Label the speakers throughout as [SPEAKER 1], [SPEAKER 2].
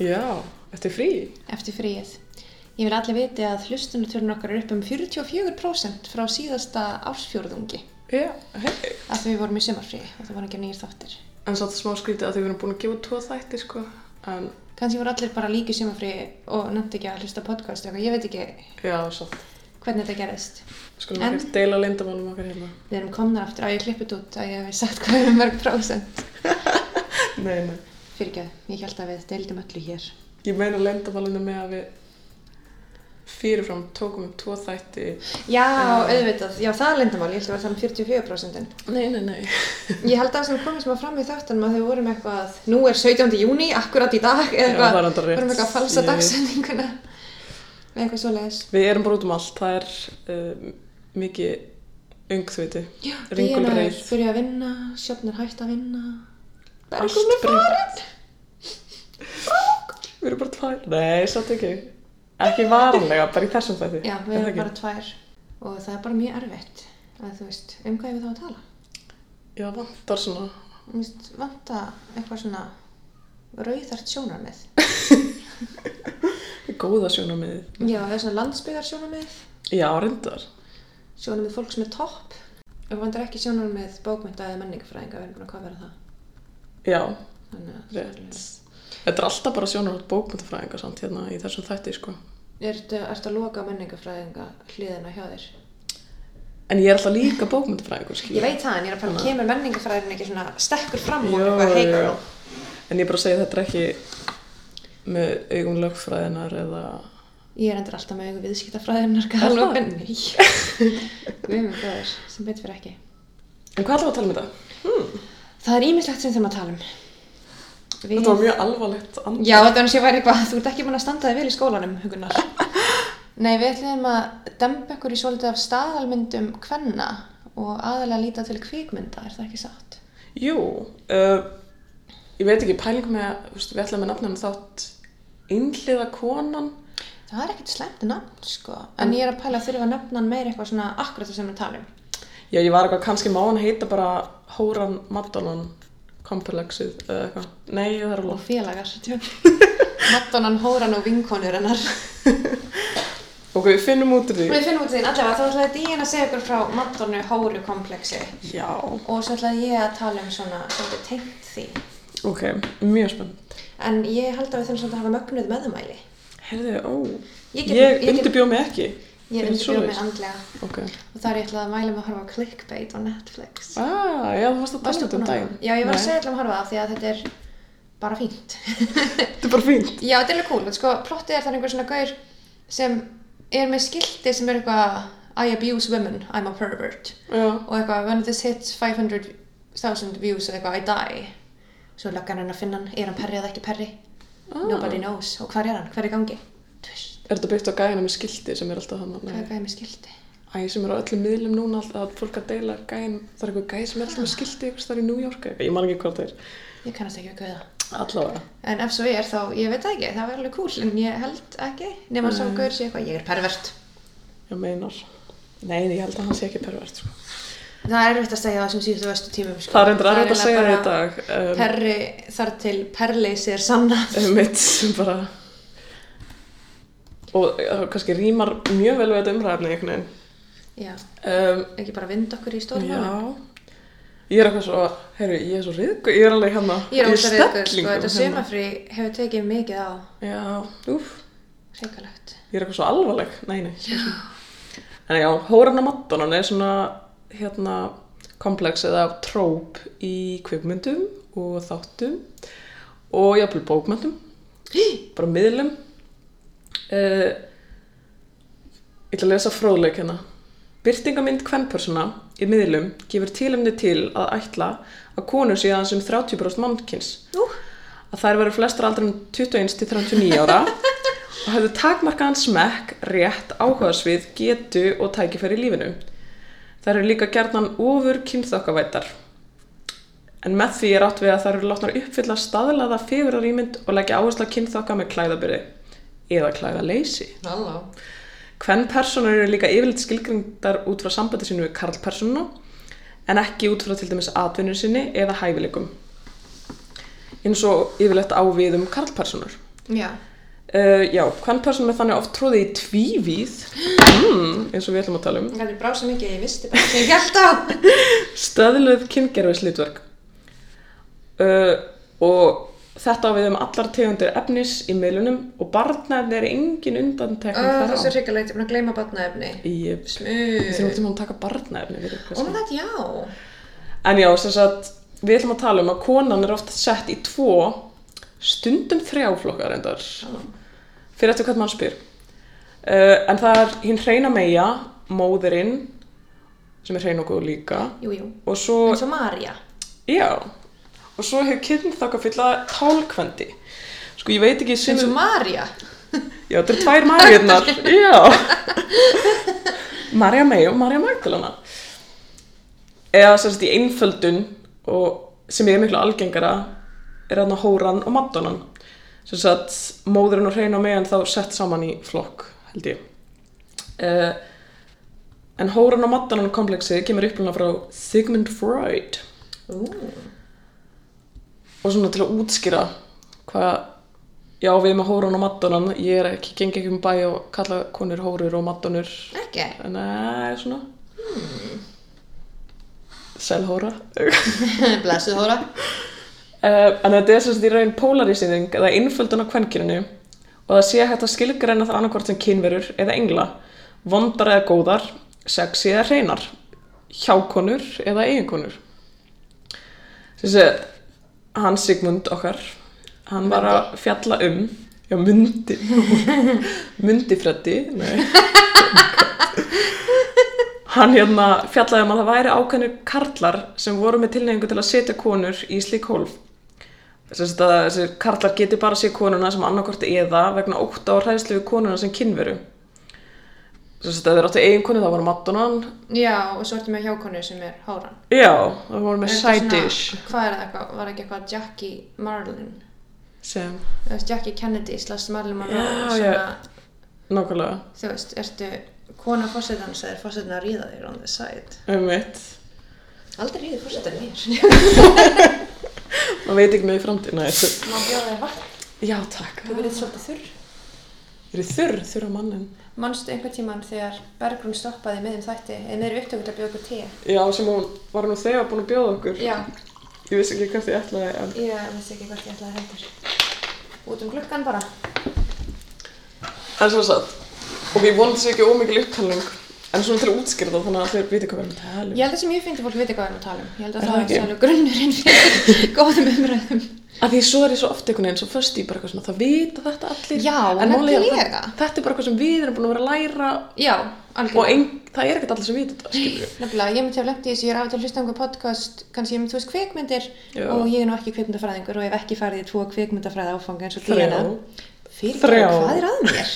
[SPEAKER 1] Já, eftir frí.
[SPEAKER 2] eftir fríið. Ég vil allir viti að hlustunartölun okkar er upp um 44% frá síðasta ársfjórðungi
[SPEAKER 1] Já, hei.
[SPEAKER 2] að því við vorum í sumarfríi og það var ekki nýjir þáttir.
[SPEAKER 1] En svo þetta smá skrítið að því við erum búin að gefa út tvo þætti, sko. En,
[SPEAKER 2] Kanski voru allir bara líki sumarfríi og nefndi ekki að hlusta á podcast eða eitthvað, ég veit ekki
[SPEAKER 1] já, svo.
[SPEAKER 2] hvernig þetta gerist.
[SPEAKER 1] Skulum
[SPEAKER 2] En-
[SPEAKER 1] en... ekki deila lindamálum okkar hérna.
[SPEAKER 2] Við erum komna aftur að ég klippið út að ég hef sagt hvað er mörg prósent.
[SPEAKER 1] Nei, nei.
[SPEAKER 2] Fyrirgjöð, ég held að við deildum öllu hér.
[SPEAKER 1] Ég meina lindamálinu með að við fyrirfram tókum upp tvo þætti.
[SPEAKER 2] Já, auðvitað, já það er lindamál, ég held að vera það um 44%.
[SPEAKER 1] Nei, nei, nei.
[SPEAKER 2] Ég held að það sem komið sem að fram í þáttanum að þau vorum eitthvað, nú er 17. júni, akkurat í dag, eða
[SPEAKER 1] Já, það er
[SPEAKER 2] eitthvað,
[SPEAKER 1] enda rétt.
[SPEAKER 2] vorum eitthvað að falsa
[SPEAKER 1] Ég-
[SPEAKER 2] dagsendinguna, eða eitthvað svoleiðis.
[SPEAKER 1] Við erum bara út um allt. Það er uh, mikið ungþviti.
[SPEAKER 2] Já,
[SPEAKER 1] Ringul
[SPEAKER 2] Díana er
[SPEAKER 1] reið.
[SPEAKER 2] byrjuð að vinna, Sjöfn er hægt að vinna, Bergrún
[SPEAKER 1] Allt
[SPEAKER 2] er farin,
[SPEAKER 1] Við erum bara tvær. Nei, satt ekki. Ekki varanlega, bara í þessum þætti.
[SPEAKER 2] Já, við
[SPEAKER 1] Er það
[SPEAKER 2] erum
[SPEAKER 1] ekki?
[SPEAKER 2] bara tvær og það er bara mjög erfitt að þú veist, um hvað er við þá að tala?
[SPEAKER 1] Já, vantar svona
[SPEAKER 2] Mér finnst vanta eitthvað svona rauðart sjónarmið.
[SPEAKER 1] góða sjónamiðið.
[SPEAKER 2] Já, það er svona landsbyggar sjónarmið.
[SPEAKER 1] Já, reyndar.
[SPEAKER 2] sjónum við fólk sem er topp og vandar ekki sjónum við bókmynda eða menningafræðinga við erum búin að kofera það
[SPEAKER 1] Já,
[SPEAKER 2] þannig að
[SPEAKER 1] rétt. Þetta er alltaf bara sjónarhótt bókmyndafræðinga samt hérna í þessum þætti, sko.
[SPEAKER 2] ertu, ertu að loka menningafræðinga hliðina hjá þér
[SPEAKER 1] En ég er alltaf líka bókmyndafræðingur, skilja.
[SPEAKER 2] ég veit það en ég er að fara
[SPEAKER 1] Þannig
[SPEAKER 2] að kemur menningafræðin ekki svona stekkur fram
[SPEAKER 1] Jó,
[SPEAKER 2] úr eitthvað
[SPEAKER 1] já.
[SPEAKER 2] heikur
[SPEAKER 1] En ég er bara að segja þetta er ekki með augum lögfræðinar eða...
[SPEAKER 2] ég er endur alltaf með einhver viðskiptafræðinar
[SPEAKER 1] Er það?
[SPEAKER 2] galopin nei við erum góður sem betur fyrir ekki
[SPEAKER 1] En hvað ætlum við að tala um þetta?
[SPEAKER 2] það er ímislegt sem þurfum að tala um við...
[SPEAKER 1] Þetta var mjög alvarlegt andri.
[SPEAKER 2] Já, þetta er eins og ég væri eitthvað, þú ert ekki búin að standa þig vel í skólanum, hugunar. Nei, við ætlum að dempa ykkur í svolítið af staðalmyndum kvenna og aðalega líta til kvikmynda, er það ekki satt?
[SPEAKER 1] Jú, uh, ég veit ekki, pæling með, þú veist, við ætlum með nafninu þátt innliða konan.
[SPEAKER 2] Það er ekkert slæmt nafn, sko, en ég er að pæla að þurfa að nefna hann meir eitthvað svona akkurat það sem við talum.
[SPEAKER 1] Já, ég var eitthvað, kannski má hann heita bara Hóran Maddalon komplexið eða eitthvað. Nei, það er alveg.
[SPEAKER 2] Og félagar, tjók. Maddonan, Hóran og vinkonur hennar.
[SPEAKER 1] Ok, við finnum út úr því.
[SPEAKER 2] Við finnum út þín, allavega, þá ætlaði Díana að segja ykkur frá Maddonu Hóru kompleksi
[SPEAKER 1] Já.
[SPEAKER 2] og svo ætlaði ég að tala um svona, svona tengt því.
[SPEAKER 1] Ok, mjög spennt. En
[SPEAKER 2] En ég held að við þurfum svolítið að hafa mögnuð meðmæli.
[SPEAKER 1] Herðu, ó,
[SPEAKER 2] Ég
[SPEAKER 1] ég,
[SPEAKER 2] get- ég get-
[SPEAKER 1] undirbjóð mig ekki.
[SPEAKER 2] Ég er
[SPEAKER 1] Fyrir
[SPEAKER 2] undirbjóð
[SPEAKER 1] svoleiðis.
[SPEAKER 2] mig andlega
[SPEAKER 1] Ok.
[SPEAKER 2] og þar ég ætlaði að mæla mig að horfa á clickbait á Netflix.
[SPEAKER 1] Ah, já, þú varst að tala þetta um
[SPEAKER 2] búin að-
[SPEAKER 1] daginn.
[SPEAKER 2] Já, ég var að
[SPEAKER 1] Nei.
[SPEAKER 2] segja allavega að horfa á það því að þetta er bara fínt.
[SPEAKER 1] Þetta er bara fínt.
[SPEAKER 2] já, þetta er alveg cool. en Sko, plottið er það einhver svona gaur sem er með skilti sem er eitthvað I abuse women, I'm a pervert
[SPEAKER 1] Já.
[SPEAKER 2] og eitthvað when this hits 500.000 views eða eitthvað I die. Svo löggan hann að finna hann, er hann perri eða ekki perri? Nobody knows. Og hvar er hann? Hver er í gangi? Tvist.
[SPEAKER 1] Ah. Er þetta byggt á gæðina með skildi sem er alltaf hann?
[SPEAKER 2] Hvað er
[SPEAKER 1] Nei.
[SPEAKER 2] gæði með skilti?
[SPEAKER 1] Æ, sem er á öllum miðlum núna alltaf að fólk að deila gæðin. Það er eitthvað gæði sem er alltaf með skildi ykkur starf í New York. eða eitthvað. Ég man ekki hvað það er.
[SPEAKER 2] Ég kannast ekki við gauða.
[SPEAKER 1] Allavega.
[SPEAKER 2] En ef svo er þá, ég veit það ekki, það var alveg cool, en ég held ekki, nema sá gaur sé eitthvað, ég er pervert.
[SPEAKER 1] Ég meinar. Nei, ég held að hann sé ekki pervert, sko.
[SPEAKER 2] Það er erfitt að segja það sem síðustu vestu tímum, sko.
[SPEAKER 1] Það er reyndar erfitt að segja
[SPEAKER 2] eiginlega
[SPEAKER 1] þetta í dag.
[SPEAKER 2] bara
[SPEAKER 1] Um,
[SPEAKER 2] Perri þar til perleysi er sannað.
[SPEAKER 1] mitt sem bara og uh, kannski rýmar mjög vel við þetta umræðinni einhvern veginn
[SPEAKER 2] Já,
[SPEAKER 1] um,
[SPEAKER 2] ekki bara vind okkur í
[SPEAKER 1] já
[SPEAKER 2] stórmálum.
[SPEAKER 1] ég er eitthvað svo, heyrðu, ég er svo riðgu ég er alveg hérna
[SPEAKER 2] Ég er
[SPEAKER 1] í hérna.
[SPEAKER 2] ósað reyðgur, sko,
[SPEAKER 1] stellingum
[SPEAKER 2] þetta sumafrí hefur tekið mikið á,
[SPEAKER 1] já, úf,
[SPEAKER 2] reykalegt.
[SPEAKER 1] ég er eitthvað svo alvarleg nei, nei, svo sem en já, hóran á mattonan er svona hérna komplex eða tróp í kvikmyndum og þáttum og jafnvel bókmyndum bara miðlum uh, ég ætla að lesa fróðleik hérna Byrtingamind kvennpersona í miðlum gefur tilumni til að ætla að konur sé aðeins um 30% mannkins
[SPEAKER 2] Nú,
[SPEAKER 1] að þær veru flestar aldrei um 21 til 39 ára og hefðu takmarkaðan smekk, rétt, áhugaðsvið, getu og tækifæri í lífinu. Þær eru líka gerðan ofur kynþokkavætar. En með því er átt við að þær eru látnar uppfylla staðlaða fegurarýmynd og leggja áherslu á kynþokka með klæðabyrði eða klæðaleysi.
[SPEAKER 2] halló.
[SPEAKER 1] Hvern personur eru líka yfirleitt skilgrindar út frá sambandi sínu við karlpersonuna en ekki út frá til dæmis atvinnur sinni eða hæfileikum eins og yfirleitt á við um karlpersonur
[SPEAKER 2] Já.
[SPEAKER 1] Uh, já, hvern person er þannig oft tróðið í tvívíð, mm, eins og við ætlum að tala um,
[SPEAKER 2] Það er brá svo mikið að ég visti bara sem ég held á.
[SPEAKER 1] stöðluð kyngerfislítverk. Uh, og þetta á við um allar tegundir efnis í meilunum og barnaefni er engin
[SPEAKER 2] Ó,
[SPEAKER 1] undantekning
[SPEAKER 2] það er svo
[SPEAKER 1] þar á.
[SPEAKER 2] hryggalegt, ég er búin að gleyma batnaefni.
[SPEAKER 1] Jep, við
[SPEAKER 2] Smuð.
[SPEAKER 1] þurfum ekki að taka barnaefni fyrir
[SPEAKER 2] Oh my god, já.
[SPEAKER 1] En já, sem sagt, við ætlum að tala um að konan er oft sett í tvo, stundum þrjá flokkar endar, fyrir eftir hvað mann spyr. Uh, en það er hinn hreina meia, móðirinn, sem er hrein og góð líka,
[SPEAKER 2] Jú, jú.
[SPEAKER 1] og svo,
[SPEAKER 2] Eins og Marja.
[SPEAKER 1] já, og svo hefur kynþakka fulla tálkvendi. Sko, ég veit ekki
[SPEAKER 2] Eins
[SPEAKER 1] sem,
[SPEAKER 2] og Marja.
[SPEAKER 1] já, þetta er tvær marjurnar, já. Marja mei og Marja Magdalena. Eða sem sagt í einföldun og sem ég er miklu algengara er þarna hóran og maddonan. Sem sagt móðurinn og hreina meðan þá sett saman í flokk, held ég. Uh, en hóran og maddonan kompleksið kemur upplunna frá Sigmund Freud
[SPEAKER 2] Ú.
[SPEAKER 1] og svona til að útskýra hvað já við með hóran og maddonan ég er ekki, geng ekki um bæ og kalla konur hórur og maddonur
[SPEAKER 2] Ekki.
[SPEAKER 1] nei, svona selhóra
[SPEAKER 2] Blessuð hóra.
[SPEAKER 1] uh, en þetta er sem sagt í raun polarisýning eða innföldun á kvenkyninu og það sé hægt að skilgreina það annarkvort sem kynverur eða engla vondar eða góðar, sexi eða hreinar hjákonur eða eiginkonur sem sé hann Sigmund okkar hann var að fjalla um já, myndi myndi freddi nei Hann hérna fjallaði um að það væri ákveðnir karlar sem voru með tilneyingu til að setja konur í slík hólf. Þess að þessi karlar geti bara sé konuna sem annarkort eða vegna ótt á hræðslu við konuna sem kynveru. Þess að þeir áttu eigin konu þá var Maddonan.
[SPEAKER 2] Já, og svo ertu með hjákonu sem er hóran.
[SPEAKER 1] Já, það voru með
[SPEAKER 2] Er þetta
[SPEAKER 1] side
[SPEAKER 2] svona-
[SPEAKER 1] dish
[SPEAKER 2] Hvað er það eitthvað? Var ekki eitthvað Jackie Marlin?
[SPEAKER 1] sem,
[SPEAKER 2] Þú veist, Jackie Kennedy slags Marlin
[SPEAKER 1] Já,
[SPEAKER 2] Monroe.
[SPEAKER 1] já. nákvæmlega,
[SPEAKER 2] Þú veist, ertu kona fórsetans eða er fórsetan að ríða þér on the side?
[SPEAKER 1] um mitt.
[SPEAKER 2] Aldrei ríði fórsetan mér.
[SPEAKER 1] Man veit ekki með í framtíðina þessu.
[SPEAKER 2] Má bjóða þér vatn,
[SPEAKER 1] Já, takk.
[SPEAKER 2] þú verður svolítið þurr.
[SPEAKER 1] Eru þurr, þurr á mannin.
[SPEAKER 2] Manstu einhvern tíman þegar Bergrún stoppaði með um þætti eða meður upptökum til að bjóða okkur te?
[SPEAKER 1] Já, sem hún var nú þegar búin að bjóða okkur.
[SPEAKER 2] Já,
[SPEAKER 1] Ég vissi ekki hvert ég ætlaði en
[SPEAKER 2] ég veist ekki hvort ég ætlaði heldur. Út um glukkan bara.
[SPEAKER 1] En sem sagt, og ég vonandi sé ekki ómikið upptalning, en svona til að útskýra það þannig að þeir viti hvað við erum að tala um.
[SPEAKER 2] Ég held að sem ég fyndi fólk viti hvað við erum að tala um. Ég held að
[SPEAKER 1] Er
[SPEAKER 2] það
[SPEAKER 1] það
[SPEAKER 2] er
[SPEAKER 1] ekki?
[SPEAKER 2] sérlega grunnurinn fyrir góðum umræðum.
[SPEAKER 1] Af því svo er ég svo oft einhvern veginn svo föst í bara eitthvað svona, það vita þetta allir.
[SPEAKER 2] Já,
[SPEAKER 1] en málið er að
[SPEAKER 2] nefnilega.
[SPEAKER 1] það- Þetta er bara eitthvað sem við erum búin að vera að læra
[SPEAKER 2] Já,
[SPEAKER 1] og
[SPEAKER 2] algjörlega.
[SPEAKER 1] ein, það er ekkert allir sem vita þetta, skilur við.
[SPEAKER 2] Nefnilega, ég myndi hafa lengt í þessu, ég er af og til að hlusta á einhver podcast, kannski ég myndi þú veist kveikmyndir
[SPEAKER 1] Já.
[SPEAKER 2] og ég er nú ekki kveikmyndafræðingur og hef ekki farið í tvo kveikmyndafræði áfanga eins og
[SPEAKER 1] Þrjá.
[SPEAKER 2] Díana. Fyrir
[SPEAKER 1] Þrjá.
[SPEAKER 2] hvað er að mér?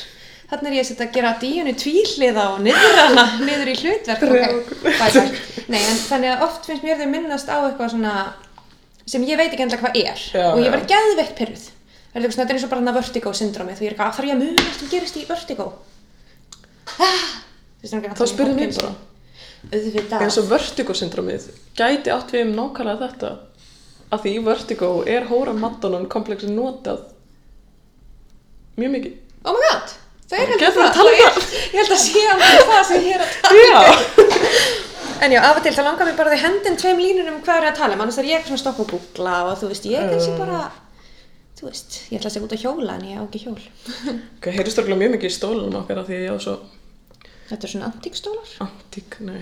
[SPEAKER 2] Þannig er ég að setja að gera díunu tvíhliða og niður hana, niður í hlutverk.
[SPEAKER 1] Þrjá.
[SPEAKER 2] Okay. Bye, bye. Nei, en þannig að oft finnst mér þau minnast á eitthvað svona sem ég veit ekki endla hvað er
[SPEAKER 1] Já,
[SPEAKER 2] og ég var
[SPEAKER 1] já.
[SPEAKER 2] geðveikt pyrruð. Það er eitthvað svona, þetta er eins og bara hana vertigo syndromi því ég er eitthvað, "Ah, þarf ég að muna allt sem gerist í vertigo? Ah,
[SPEAKER 1] Þá spurðu mig bara.
[SPEAKER 2] Auðvitað.
[SPEAKER 1] En svo vertigo-syndromið gæti átt við um nákvæmlega þetta. Af því í vertigo er hóra maddonan kompleksin notað mjög mikið.
[SPEAKER 2] Oh my god, það er heldur
[SPEAKER 1] Getur við að tala um
[SPEAKER 2] það. Ég held að sé alveg það sem ég er að tala um.
[SPEAKER 1] Já!
[SPEAKER 2] En já, af og til þá langar mér bara þau hendin tveim línur um hvað er að tala um, annars er ég svona stokk og búkla og þú veist, ég er kannski bara, þú veist, ég ætla að segja út að hjóla en ég á ekki hjól.
[SPEAKER 1] Ok, heyrðist okkur mjög mikið í stólunum okkar af því að ég á svo
[SPEAKER 2] Þetta er svona antíkstólar,
[SPEAKER 1] antík, nei.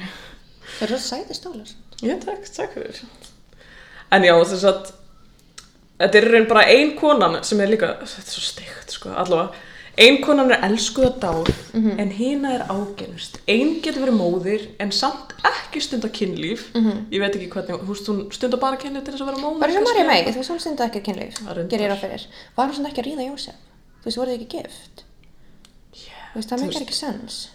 [SPEAKER 2] það eru svo sæti stólar.
[SPEAKER 1] Já, takk, takk fyrir. En já, þess að þetta er í raun bara ein konan sem er líka, þetta er svo steikt, sko, allavega. Ein konan er elskuð og dár,
[SPEAKER 2] Mhm.
[SPEAKER 1] en hina er ágennust. Ein getur verið móðir, en samt ekki stunda kynlíf.
[SPEAKER 2] Mhm.
[SPEAKER 1] Ég veit ekki hvernig, húst, hún stunda bara kynlíf til þess að vera móðir.
[SPEAKER 2] Var það
[SPEAKER 1] kannski?
[SPEAKER 2] Marja Mey, þú veist, hún stundi ekki að kynlíf,
[SPEAKER 1] Það reyndar.
[SPEAKER 2] gerir ég ráð fyrir. Var hún svona ekki að ríða Jósef? Þú veist, voru þið ekki gift?
[SPEAKER 1] Yeah,
[SPEAKER 2] Þú veist, það
[SPEAKER 1] þú
[SPEAKER 2] meikar
[SPEAKER 1] veist.
[SPEAKER 2] ekki sens.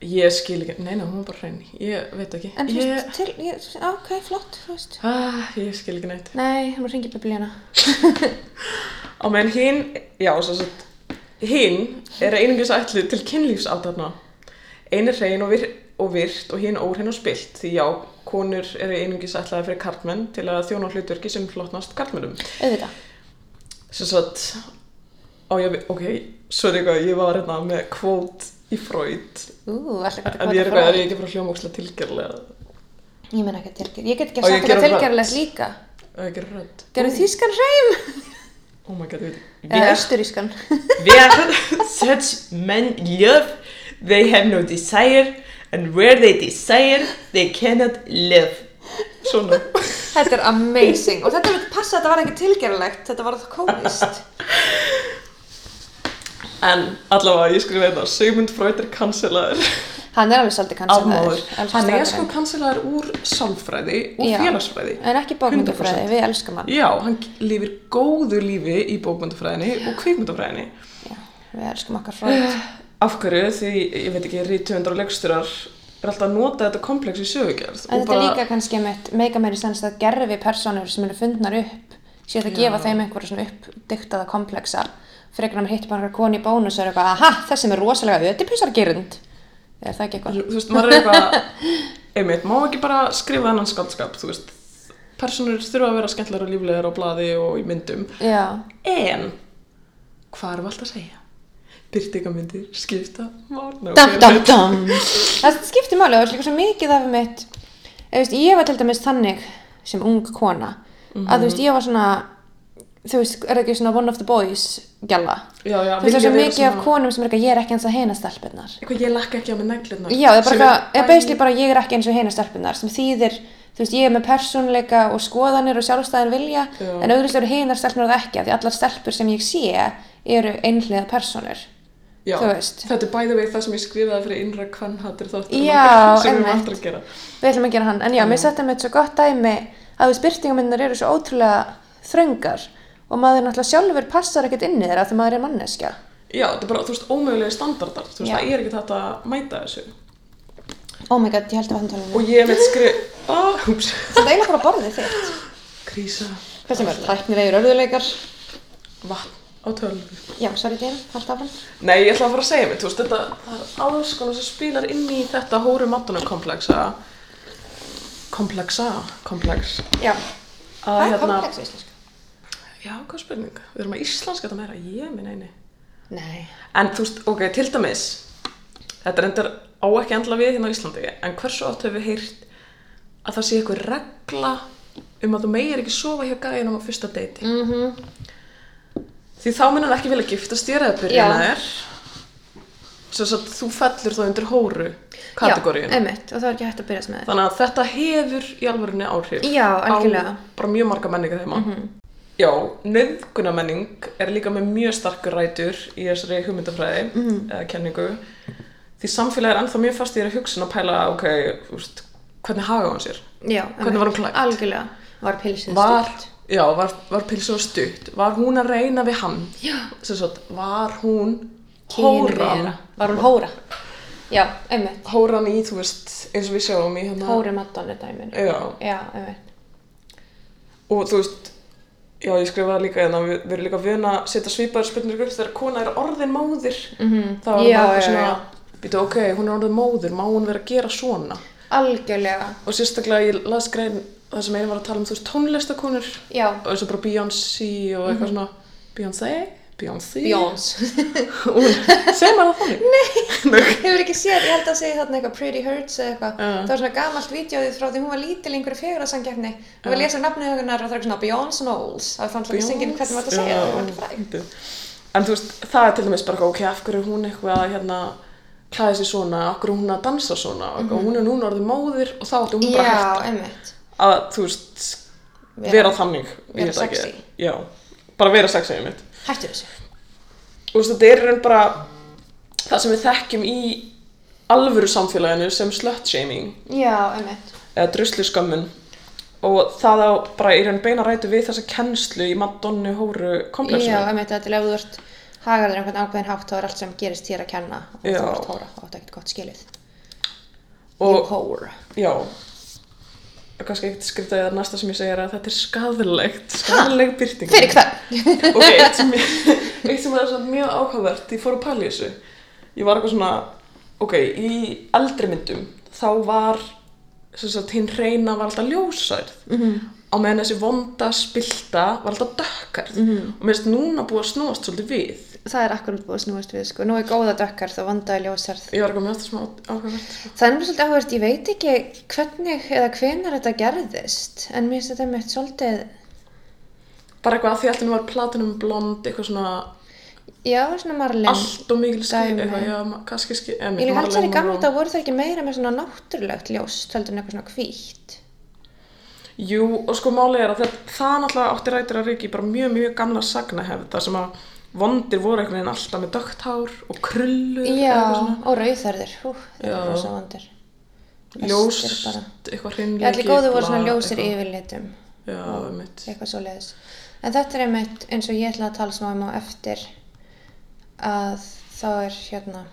[SPEAKER 1] Ég skil ekki, nei, nei, hún er bara hrein. Ég veit ekki.
[SPEAKER 2] En þú
[SPEAKER 1] ég,
[SPEAKER 2] veist, til, ég, ok, flott, þú veist.
[SPEAKER 1] ah, ég skil ekki neitt.
[SPEAKER 2] Nei, nú ringir biblíuna.
[SPEAKER 1] Á meðan hinn, já, svo sett, hinn er einungis ætluð til kynlífsáttarna. Einn er hrein og, vir, og virt og hinn óhrein og spilt, því já, konur eru einungis ætlaði fyrir karlmenn til að þjóna hlutverki sem hlotnast karlmennum.
[SPEAKER 2] Auðvitað.
[SPEAKER 1] Svo sett, Ó, ég, vi- ok, sorry hvað, ég var hérna með kvót í Freud.
[SPEAKER 2] Ú, alltaf gott
[SPEAKER 1] En ég er eitthvað, er ég ekki frá hljómókslega tilgerlega?
[SPEAKER 2] Ég menn ekki að tilgjörlega. Ég get ekki
[SPEAKER 1] Á,
[SPEAKER 2] að
[SPEAKER 1] ég
[SPEAKER 2] sagt þetta
[SPEAKER 1] gera það.
[SPEAKER 2] tilgjörlega líka.
[SPEAKER 1] Ef ég gerir rödd.
[SPEAKER 2] Gerðu Eh, þýskan hreim?
[SPEAKER 1] Oh my god, ég veit.
[SPEAKER 2] Eða austurískan.
[SPEAKER 3] Where such men live, they have no desire, and where they desire, they cannot live.
[SPEAKER 1] Svona.
[SPEAKER 2] Þetta er amazing. Og þetta myndi passa að þetta var ekki tilgjörlegt. Þetta var það kóðist.
[SPEAKER 1] En allavega, ég skrifa þetta, Sigmund Freud er kanselaður.
[SPEAKER 2] Hann er alveg svolítið
[SPEAKER 1] Afmáður.
[SPEAKER 2] kansaðar.
[SPEAKER 1] Hann er sko kanselaður úr sálfræði
[SPEAKER 2] sko
[SPEAKER 1] og félagsfræði.
[SPEAKER 2] En ekki bókmyndafræði, við elskum hann.
[SPEAKER 1] Já, hann lifir góðu lífi í bókmyndafræðinni og kvikmyndafræðinni.
[SPEAKER 2] Já, við elskum okkar fróð.
[SPEAKER 1] Af hverju, því ég veit ekki, rítöfundar og leiksturar er alltaf að nota þetta komplex í sögugjörð.
[SPEAKER 2] En þetta er líka kannski með meika meiri sens að gerfi personur sem eru fundnar upp séu það að gefa þeim einhverja svona uppdyktaða komplexa frekar að maður hittir bara einhverja koni í bónus og er eitthvað, aha, þessi er rosalega ödipusargerund er það ekki eitthvað?
[SPEAKER 1] Þú veist, maður er eitthvað, einmitt, má ekki bara skrifa þennan skaldskap, þú veist. Personur þurfa að vera skemmtilegar og líflegar á blaði og í myndum.
[SPEAKER 2] Já,
[SPEAKER 1] En, hvað erum við alltaf að segja? Byrtingamyndir skipta málna.
[SPEAKER 2] dam, dam, dam það skiptir máli og það er líka svo mikið af mitt eða, veist, ég var til dæmis þannig sem ung kona
[SPEAKER 1] Mhm.
[SPEAKER 2] að þú veist, ég var svona þú veist, er það ekki svona one of the boys gjalla
[SPEAKER 1] Já, já,
[SPEAKER 2] þú veist, það er svo
[SPEAKER 1] vilja vera
[SPEAKER 2] mikið af
[SPEAKER 1] svona-
[SPEAKER 2] konum sem er eitthvað, ég er ekki eins að hena stelpunnar
[SPEAKER 1] Eitthvað ég lakka ekki á með neglunar.
[SPEAKER 2] Já, það er bara eitthvað, eða basically bara ég er ekki eins og heina stelpunar sem þýðir, þú veist, ég er með persónleika og skoðanir og sjálfstæðan vilja
[SPEAKER 1] Já.
[SPEAKER 2] en auðvitað eru heinar stelpunar það ekki af því allar stelpur sem ég sé eru einhliða persónur.
[SPEAKER 1] Já,
[SPEAKER 2] þú veist.
[SPEAKER 1] Þetta er bæði vegið það sem ég skrifaði fyrir innra kvannhattir þáttur. um
[SPEAKER 2] Já,
[SPEAKER 1] sem við erum
[SPEAKER 2] einmitt.
[SPEAKER 1] aftur að gera.
[SPEAKER 2] Við ætlum að gera hann, en já, mér setja með svo gott dæmi að við spyrtingamindar eru svo ótrúlega þröngar og maður náttúrulega sjálfur passar ekkert inn í þeirra þegar maður er manneskja.
[SPEAKER 1] Já, þetta er bara, þú veist, ómögulegi standardar. Þú veist,
[SPEAKER 2] Já.
[SPEAKER 1] það er ekki þetta að mæta þessu.
[SPEAKER 2] Oh my god, ég held að hann tala um
[SPEAKER 1] Og ég veit skrif... Ah, húps.
[SPEAKER 2] Þetta er eiginlega bara borðið þitt.
[SPEAKER 1] Krísa.
[SPEAKER 2] Hvað sem er, tæknilegir örðuleikar.
[SPEAKER 1] Vatn á tölvu.
[SPEAKER 2] Já, sorry, Dina, haldt áfram.
[SPEAKER 1] Nei, ég ætla að fara að segja mér, þú veist, þetta, það er alls konar sem spilar inn í þetta hóru mattunum komplexa, komplexa, komplex.
[SPEAKER 2] Já, hvað
[SPEAKER 1] Að, hérna-
[SPEAKER 2] er kompleks í íslensku?
[SPEAKER 1] Já, hvað spurning? Við erum að íslenska þetta meira, ég minn eini.
[SPEAKER 2] Nei.
[SPEAKER 1] En þú veist, ok, til dæmis, þetta reyndar á ekki endla við hérna á Íslandi, en hversu oft hefur við heyrt að það sé eitthvað regla um að þú meir ekki sofa hjá gæðinum á fyrsta deiti.
[SPEAKER 2] Mm
[SPEAKER 1] Því þá mun hann ekki vilja giftast þér eða byrja
[SPEAKER 2] Já.
[SPEAKER 1] með þér. Svo að þú fellur þá undir hóru
[SPEAKER 2] Já,
[SPEAKER 1] kategóriun.
[SPEAKER 2] einmitt, og það er ekki hægt að byrjast með það.
[SPEAKER 1] Þannig að þetta hefur í alvörunni áhrif.
[SPEAKER 2] Já, algjörlega. Mhm.
[SPEAKER 1] Á bara mjög marga menningar þeima. Já, nöðgunamenning er líka með mjög starkur rætur í þessari hugmyndafræði
[SPEAKER 2] Mhm.
[SPEAKER 1] eða kenningu. Því samfélagi er ennþá mjög fast í þeirri hugsun að pæla, ok, úst, hvernig haga hann sér?
[SPEAKER 2] Já,
[SPEAKER 1] Hvernig var hún klædd?
[SPEAKER 2] Algjörlega. Var pilsið
[SPEAKER 1] var,
[SPEAKER 2] stutt?
[SPEAKER 1] já, var, var pilsuð stutt var hún að reyna við hann Sem sagt, var hún hóran
[SPEAKER 2] Kynvera. Var hún hóra? Já, einmitt.
[SPEAKER 1] hóran í, þú veist, eins og við sjáum í hérna
[SPEAKER 2] Hóri Madonna dæminu.
[SPEAKER 1] já,
[SPEAKER 2] Já, einmitt.
[SPEAKER 1] og þú veist já, ég skrifaði líka hérna, við, við erum líka vöna að setja svipaðar spurningar upp þegar kona er orðin móðir mm -hmm. þá er
[SPEAKER 2] Mhm. Já,
[SPEAKER 1] það
[SPEAKER 2] já,
[SPEAKER 1] svona
[SPEAKER 2] já.
[SPEAKER 1] býtu, ok, hún er orðin móðir, má hún vera að gera svona
[SPEAKER 2] Algjörlega.
[SPEAKER 1] og sérstaklega ég las grein það sem einu var að tala um, þú veist, tónlistakonur
[SPEAKER 2] Já. Mhm.
[SPEAKER 1] og eins og bara Beyoncé og eitthvað svona Beyoncé, Beyoncé
[SPEAKER 2] Bjóns.
[SPEAKER 1] og hún segir maður það þannig
[SPEAKER 2] Hefur ekki séð, ég held að segja þarna eitthvað Pretty Hurts eða eitthvað.
[SPEAKER 1] Já.
[SPEAKER 2] Það var svona gamalt vídjóðið frá því hún var lítil í einhverju fegurðarsangjarni. Hún var að lesa nafnið hennar og það var eitthvað svona Bjóns Knowles. Það var þannig að syngin hvernig var þetta að segja það, það var ekki fræg.
[SPEAKER 1] Fyndið. en þú veist, það er til dæmis bara ok, af hverju er hún eitthvað hérna klæði sig svona, af hverju er hún að dansa svona og hún er núna orðið móðir og þá ætti hún bara
[SPEAKER 2] Mhm. Já,
[SPEAKER 1] hægt
[SPEAKER 2] einmitt.
[SPEAKER 1] að, þú veist, vera, þannig ég
[SPEAKER 2] vera
[SPEAKER 1] veit ekki.
[SPEAKER 2] sexy.
[SPEAKER 1] já, bara vera sexy einmitt
[SPEAKER 2] Hættu þessu.
[SPEAKER 1] og þú veist, þetta er í raun bara það sem við þekkjum í alvöru samfélaginu sem slut-shaming
[SPEAKER 2] Já, einmitt.
[SPEAKER 1] eða drusluskömmun og það á bara í raun beina rætu við þessa kennslu í Madonna hóru komplexinu.
[SPEAKER 2] Já, einmitt, þetta er ef þú ert hagar þér einhvern ákveðin hátt þá er allt sem gerist hér að kenna og
[SPEAKER 1] Já.
[SPEAKER 2] þú ert hóra, þá ert ekkert gott skilið You
[SPEAKER 1] og
[SPEAKER 2] hóra
[SPEAKER 1] já, og kannski eitt skriftaði að næsta sem ég segja er að þetta er skadalegt, skadaleg byrting.
[SPEAKER 2] Fyrir hvern?
[SPEAKER 1] Og eitt sem, ég, eitt sem er svona mjög áhugavert, ég fór að pæla í þessu. Ég var eitthvað svona, ok, í
[SPEAKER 2] Mhm.
[SPEAKER 1] eldri myndum þá var sem sagt, hinn reyna var alltaf ljósærð. -hmm. á meðan þessi vonda spilta var alltaf dökkar
[SPEAKER 2] Mhm.
[SPEAKER 1] og mér finnst núna búið að snúast svolítið við
[SPEAKER 2] það er akkurat búið að snúast við sko. nú er góða dökkar þá vandaði ljósarð
[SPEAKER 1] ég var ekki að mjög aftur smá áhugavert sko.
[SPEAKER 2] það er mjög svolítið áhverjast, ég veit ekki hvernig eða hvenar þetta gerðist en mér finnst þetta mitt svolítið
[SPEAKER 1] bara eitthvað að því alltaf var platinum blond eitthvað svona
[SPEAKER 2] já, svona Marlin
[SPEAKER 1] allt og mikil skil
[SPEAKER 2] Dæmi.
[SPEAKER 1] eitthvað, já, ma- kannski skil
[SPEAKER 2] ég líka held sér í gamla þetta voru það ekki meira með svona náttúrulegt ljós heldur en eitthvað svona hvítt
[SPEAKER 1] Jú, og sko málið er að það, það náttúrulega átti rætur að ríki bara mjög, mjög gamla sagnahefð, það sem að vondir voru einhvern veginn alltaf með dögt hár og krullur eða
[SPEAKER 2] já,
[SPEAKER 1] eitthvað svona.
[SPEAKER 2] og rauðarður hú, það
[SPEAKER 1] Já.
[SPEAKER 2] er rosa vandur
[SPEAKER 1] ljóst,
[SPEAKER 2] Flestir bara.
[SPEAKER 1] eitthvað hreinleiki
[SPEAKER 2] allir góðu voru svona
[SPEAKER 1] blað,
[SPEAKER 2] ljósir
[SPEAKER 1] eitthvað.
[SPEAKER 2] yfirlitum
[SPEAKER 1] Já, einmitt.
[SPEAKER 2] eitthvað svo leiðis en þetta er einmitt eins og ég ætla að tala smá um á eftir að þá er hérna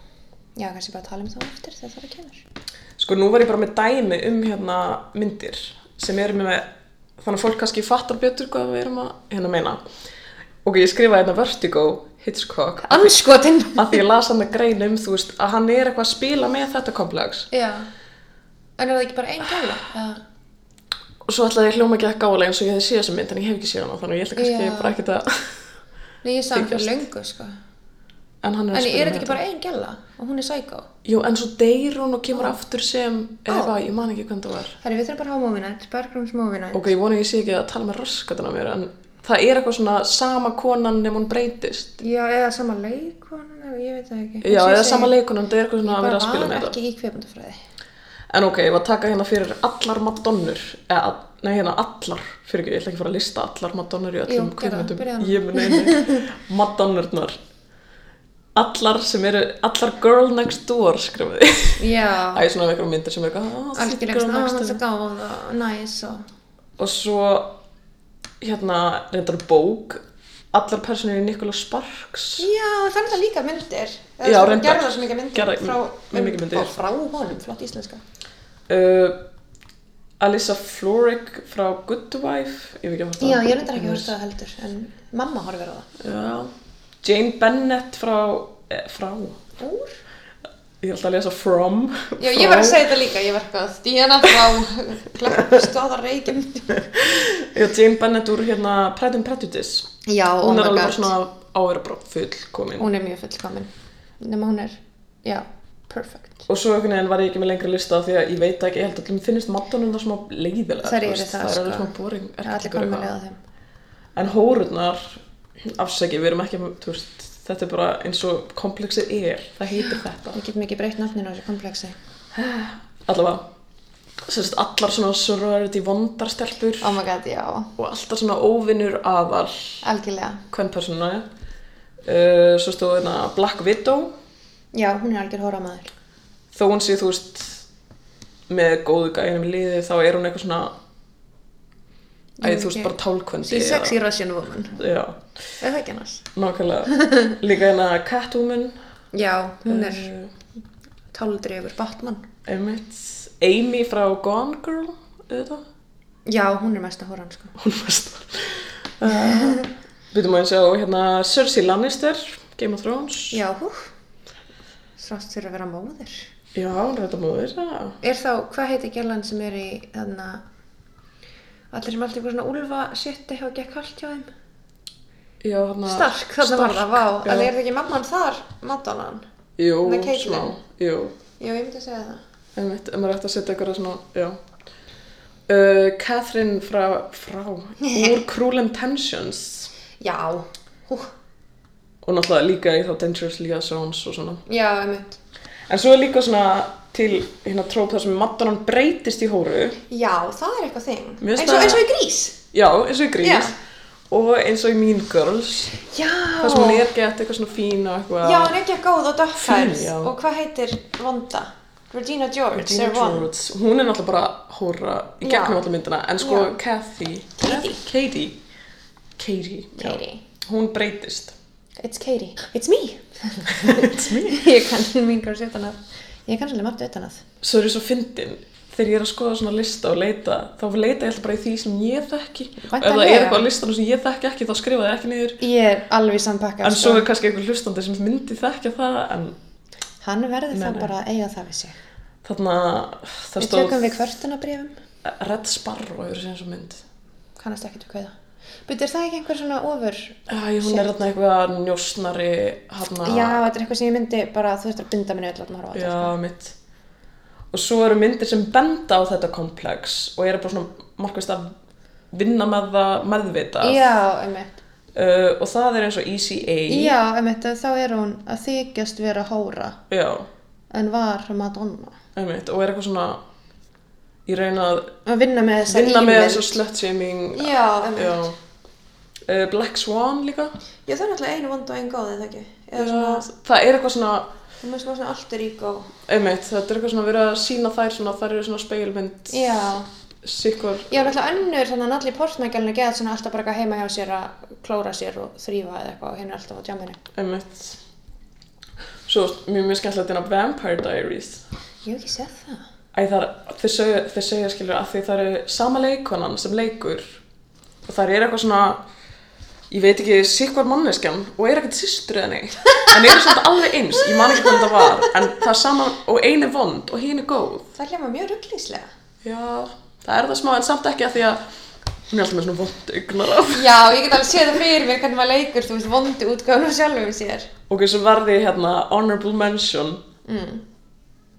[SPEAKER 2] já, kannski bara tala um það á eftir þegar það kemur
[SPEAKER 1] Sko nú var ég bara með dæmi um hérna myndir sem erum með, þannig að fólk kannski fattar betur hvað við erum að hérna meina. Ok, ég skrifaði hérna Vertigo, Hitchcock,
[SPEAKER 2] anskotinn
[SPEAKER 1] að því ég las hann að grein um, þú veist, að hann er eitthvað að spila með þetta komplex.
[SPEAKER 2] já, en er það ekki bara einn gæla
[SPEAKER 1] Ah. Og svo ætlaði ég hljóma ekki að gála eins og ég hefði séð þessa mynd, en ég hef ekki séð hana, þannig að ég ætla kannski
[SPEAKER 2] Já.
[SPEAKER 1] bara ekkert að...
[SPEAKER 2] nei, ég sá hann fyrir
[SPEAKER 1] Þykjast. um
[SPEAKER 2] löngu sko
[SPEAKER 1] En hann
[SPEAKER 2] en
[SPEAKER 1] er að
[SPEAKER 2] er
[SPEAKER 1] spila
[SPEAKER 2] þetta
[SPEAKER 1] með
[SPEAKER 2] ekki bara einn gæla og hún er sækó
[SPEAKER 1] Jú, en svo deyr hún og kemur aftur sem,
[SPEAKER 2] Ó.
[SPEAKER 1] eða eitthvað, ég man ekki hvernig það var.
[SPEAKER 2] Herri, við þurfum bara að hafa móvinætt, Bergrums móvinætt
[SPEAKER 1] Ok, ég vona að ég sé ekki að tala með raskatinn á mér, en það er eitthvað svona sama konan nefn hún breytist.
[SPEAKER 2] Já, eða sama leikon, ég veit það ekki Eins
[SPEAKER 1] Já,
[SPEAKER 2] og ég
[SPEAKER 1] eða
[SPEAKER 2] segi,
[SPEAKER 1] sama leikunan, það er eitthvað svona að vera að spila
[SPEAKER 2] Ég
[SPEAKER 1] með
[SPEAKER 2] bara var
[SPEAKER 1] þetta.
[SPEAKER 2] ekki í kveipundafræði
[SPEAKER 1] En ok, ég var að taka hérna fyrir allar madonnur, eða, all- nei hérna allar, fyrir ekki, ég ætla ekki að fara að lista allar madonnur í öllum
[SPEAKER 2] Jú, gerðu það,
[SPEAKER 1] kvikmyndum.
[SPEAKER 2] byrjaðu nú.
[SPEAKER 1] Ég mun einu, madonnurnar. Allar sem eru, allar girl next door, skrifaði.
[SPEAKER 2] Já,
[SPEAKER 1] Æ, svona eitthvað myndir sem eru eitthvað, "Ah, þessi
[SPEAKER 2] algjörlega
[SPEAKER 1] girl
[SPEAKER 2] svona,
[SPEAKER 1] next
[SPEAKER 2] hann er svo
[SPEAKER 1] door.
[SPEAKER 2] gáð og næs og
[SPEAKER 1] Og svo, hérna, reyndar bók, allar personur í Nikola Sparks.
[SPEAKER 2] Já, þannig það líka myndir
[SPEAKER 1] Já,
[SPEAKER 2] Það
[SPEAKER 1] reyndar.
[SPEAKER 2] gerða svo mikið myndir
[SPEAKER 1] Gerðar
[SPEAKER 2] frá,
[SPEAKER 1] mjög mikið myndir.
[SPEAKER 2] frá, frá honum, flott íslenska
[SPEAKER 1] Uh, Alyssa Florek frá Good Wife, ég veit ekki að horta
[SPEAKER 2] Já, ég reyndar ekki að horfa það heldur en mamma horfir á það
[SPEAKER 1] Já. Jane Bennett frá, eh, frá,
[SPEAKER 2] Úr?
[SPEAKER 1] ég held að lesa from.
[SPEAKER 2] Já, ég var að segja þetta líka, ég var eitthvað Díana frá Klappstóðar reykjum
[SPEAKER 1] Já, Jane Bennett úr hérna Pride and Prejudice.
[SPEAKER 2] Já, oh
[SPEAKER 1] Hún
[SPEAKER 2] my
[SPEAKER 1] er alveg bara
[SPEAKER 2] god
[SPEAKER 1] svona á að vera bara full komin.
[SPEAKER 2] Hún er mjög fullkomin Nefna hún er, já, perfect
[SPEAKER 1] Og svo einhvern veginn var ég ekki með lengri lista því að ég veit ekki, ég held að mér finnist mattanum það smá leiðilega.
[SPEAKER 2] Þær eru það,
[SPEAKER 1] Það eru
[SPEAKER 2] sko.
[SPEAKER 1] smá boring.
[SPEAKER 2] Það er allir komin með leiða þeim
[SPEAKER 1] En hórurnar, afsæki, við erum ekki, þú veist, þetta er bara eins og komplexið er, það heitir þetta.
[SPEAKER 2] Við getum ekki breytt nafninu á þessu kompleksi
[SPEAKER 1] Allavega, sérst, allar svona sorority vondarstelpur
[SPEAKER 2] Oh my god, já,
[SPEAKER 1] og alltaf svona óvinnur aðal
[SPEAKER 2] algjörlega
[SPEAKER 1] hvern persónu uh, svo stóð hérna Black Widow
[SPEAKER 2] Já, hún er algjör hóramæður
[SPEAKER 1] þó hún sé þú veist með góðu gæðinum í liði þá er hún eitthvað svona æði þú veist bara tálkvendi
[SPEAKER 2] She's sexy Russian woman
[SPEAKER 1] já,
[SPEAKER 2] Er það ekki annars?
[SPEAKER 1] nákvæmlega líka hérna Catwoman
[SPEAKER 2] Já, hún er
[SPEAKER 1] eh,
[SPEAKER 2] táldrefur Uh, Batman
[SPEAKER 1] einmitt Amy frá Gone Girl auðvitað
[SPEAKER 2] Já, hún er mesta hóran sko
[SPEAKER 1] hún mest uh, byrjum að sjá hérna Cersei Lannister Game of Thrones
[SPEAKER 2] Já, hú Þrátt fyrir að vera móðir
[SPEAKER 1] já hún er þetta móður já
[SPEAKER 2] Er þá, hvað heiti gælan sem er í þarna Allir sem alltaf eitthvað svona úlfa sétti hafa gekk kalt hjá þeim
[SPEAKER 1] Já, hérna hana,
[SPEAKER 2] Stark, þarna var það, vá
[SPEAKER 1] já.
[SPEAKER 2] En er það ekki mamman þar, Madonnan?
[SPEAKER 1] Jú,
[SPEAKER 2] Með Caitlyn.
[SPEAKER 1] smá, jú
[SPEAKER 2] Já, ég myndi að segja það
[SPEAKER 1] einmitt, ef maður ætti að setja eitthvað svona, já uh, Catherine frá, frá úr Cruel Intentions
[SPEAKER 2] Já, hú
[SPEAKER 1] og náttúrulega líka í þá Dangerous Liaisons og svona
[SPEAKER 2] Já, einmitt
[SPEAKER 1] en svo er líka svona til hérna tróp þar sem Madonnan breytist í hóru
[SPEAKER 2] Já, það er eitthvað þing
[SPEAKER 1] Mér finnst
[SPEAKER 2] Eins og,
[SPEAKER 1] það-
[SPEAKER 2] eins og í grís
[SPEAKER 1] já, eins og í Grís
[SPEAKER 2] Já.
[SPEAKER 1] og eins og í Mean Girls
[SPEAKER 2] Já
[SPEAKER 1] þar sem hún er gett eitthvað svona fín og eitthvað
[SPEAKER 2] Já, hún er ekki að góð og dökkhærð
[SPEAKER 1] Fín, já.
[SPEAKER 2] og hvað heitir vonda? Regina George
[SPEAKER 1] Regina
[SPEAKER 2] er vond.
[SPEAKER 1] George, hún er náttúrulega bara hóra í
[SPEAKER 2] Já.
[SPEAKER 1] gegnum alla myndina en sko
[SPEAKER 2] Já.
[SPEAKER 1] Kathy
[SPEAKER 2] Katie.
[SPEAKER 1] Katie, Katie, já.
[SPEAKER 2] Katie.
[SPEAKER 1] hún breytist
[SPEAKER 2] It's Katie. It's me. It's me. ég kann mingur utan að. Ég kann svolítið margt utan að.
[SPEAKER 1] svo er ég svo fyndin þegar ég er að skoða svona lista og leita þá leita ég alltaf bara í því sem ég þekki og ef það er
[SPEAKER 2] Væntanlega.
[SPEAKER 1] eitthvað á listanum sem ég þekki ekki þá skrifa ég ekki niður
[SPEAKER 2] Ég er alveg sampakka.
[SPEAKER 1] en svo er kannski einhver hlustandi sem myndi þekka það en
[SPEAKER 2] Hann verður
[SPEAKER 1] Nei,
[SPEAKER 2] þá
[SPEAKER 1] nei.
[SPEAKER 2] bara að eiga það við sig.
[SPEAKER 1] þarna það
[SPEAKER 2] Við
[SPEAKER 1] stóð
[SPEAKER 2] tökum við kvörtunabrifum.
[SPEAKER 1] Red Sparrow hefur séð eins og mynd
[SPEAKER 2] kannast ekki til kveða Byrðu, er það ekki einhver svona ofur?
[SPEAKER 1] Æ, hún er þarna eitthvað njósnari hana,
[SPEAKER 2] Já, þetta er eitthvað sem ég myndi bara þú þurft að binda minni öll að horfa á þetta sko.
[SPEAKER 1] Já, mitt. Og svo eru myndir sem benda á þetta komplex og eru bara svona markvist að vinna með það meðvitað.
[SPEAKER 2] Já, einmitt
[SPEAKER 1] Uh, og það er eins og ECA.
[SPEAKER 2] Já, einmitt, þá er hún að þykjast vera hóra
[SPEAKER 1] Já,
[SPEAKER 2] en var Madonna
[SPEAKER 1] einmitt. Og er eitthvað svona, ég reyna að
[SPEAKER 2] að vinna með þessa
[SPEAKER 1] vinna með
[SPEAKER 2] ímynd.
[SPEAKER 1] þessu slutshaming.
[SPEAKER 2] Já, einmitt
[SPEAKER 1] Já. Uh, Black Swan líka.
[SPEAKER 2] Já, það er náttúrulega einu vond og einu góð, eða ekki? Eða
[SPEAKER 1] Já, það er eitthvað svona,
[SPEAKER 2] það er svona alltaf rík og...
[SPEAKER 1] einmitt, þetta er eitthvað svona verið að sína þær svona, þær eru svona speilmynd,
[SPEAKER 2] Já.
[SPEAKER 1] sikkur.
[SPEAKER 2] Já, náttúrulega önnur, þannig að Natalie Portman gælinu geðað svona alltaf bara eitthvað heima hjá sér að klóra sér og þrýfa eða eitthvað og henni er alltaf á tjáminni.
[SPEAKER 1] Einmitt. Svo mjög mjög skemmtilegt en að Vampire Diaries.
[SPEAKER 2] Ég hef ekki séð það.
[SPEAKER 1] Æ, þar, þeir, segja, þeir segja skilur að því það eru sama leikonan sem leikur og það er eitthvað svona ég veit ekki sikvar manneskjan og er ekkert systur eða neitt en eru svolítið alveg eins, ég man ekki hvernig það var en það er sama og einu vond og hinn er góð
[SPEAKER 2] Það hljóma mjög rugglíslega.
[SPEAKER 1] já, það er það smá en samt ekki að því að hún er alltaf með svona vond augnar á
[SPEAKER 2] Já, ég get alveg séð það fyrir mér hvernig maður leikur, þú veist, vondi útgáðun og sjálfum sér.
[SPEAKER 1] ok, svo varði hérna honorable mention
[SPEAKER 2] Mm.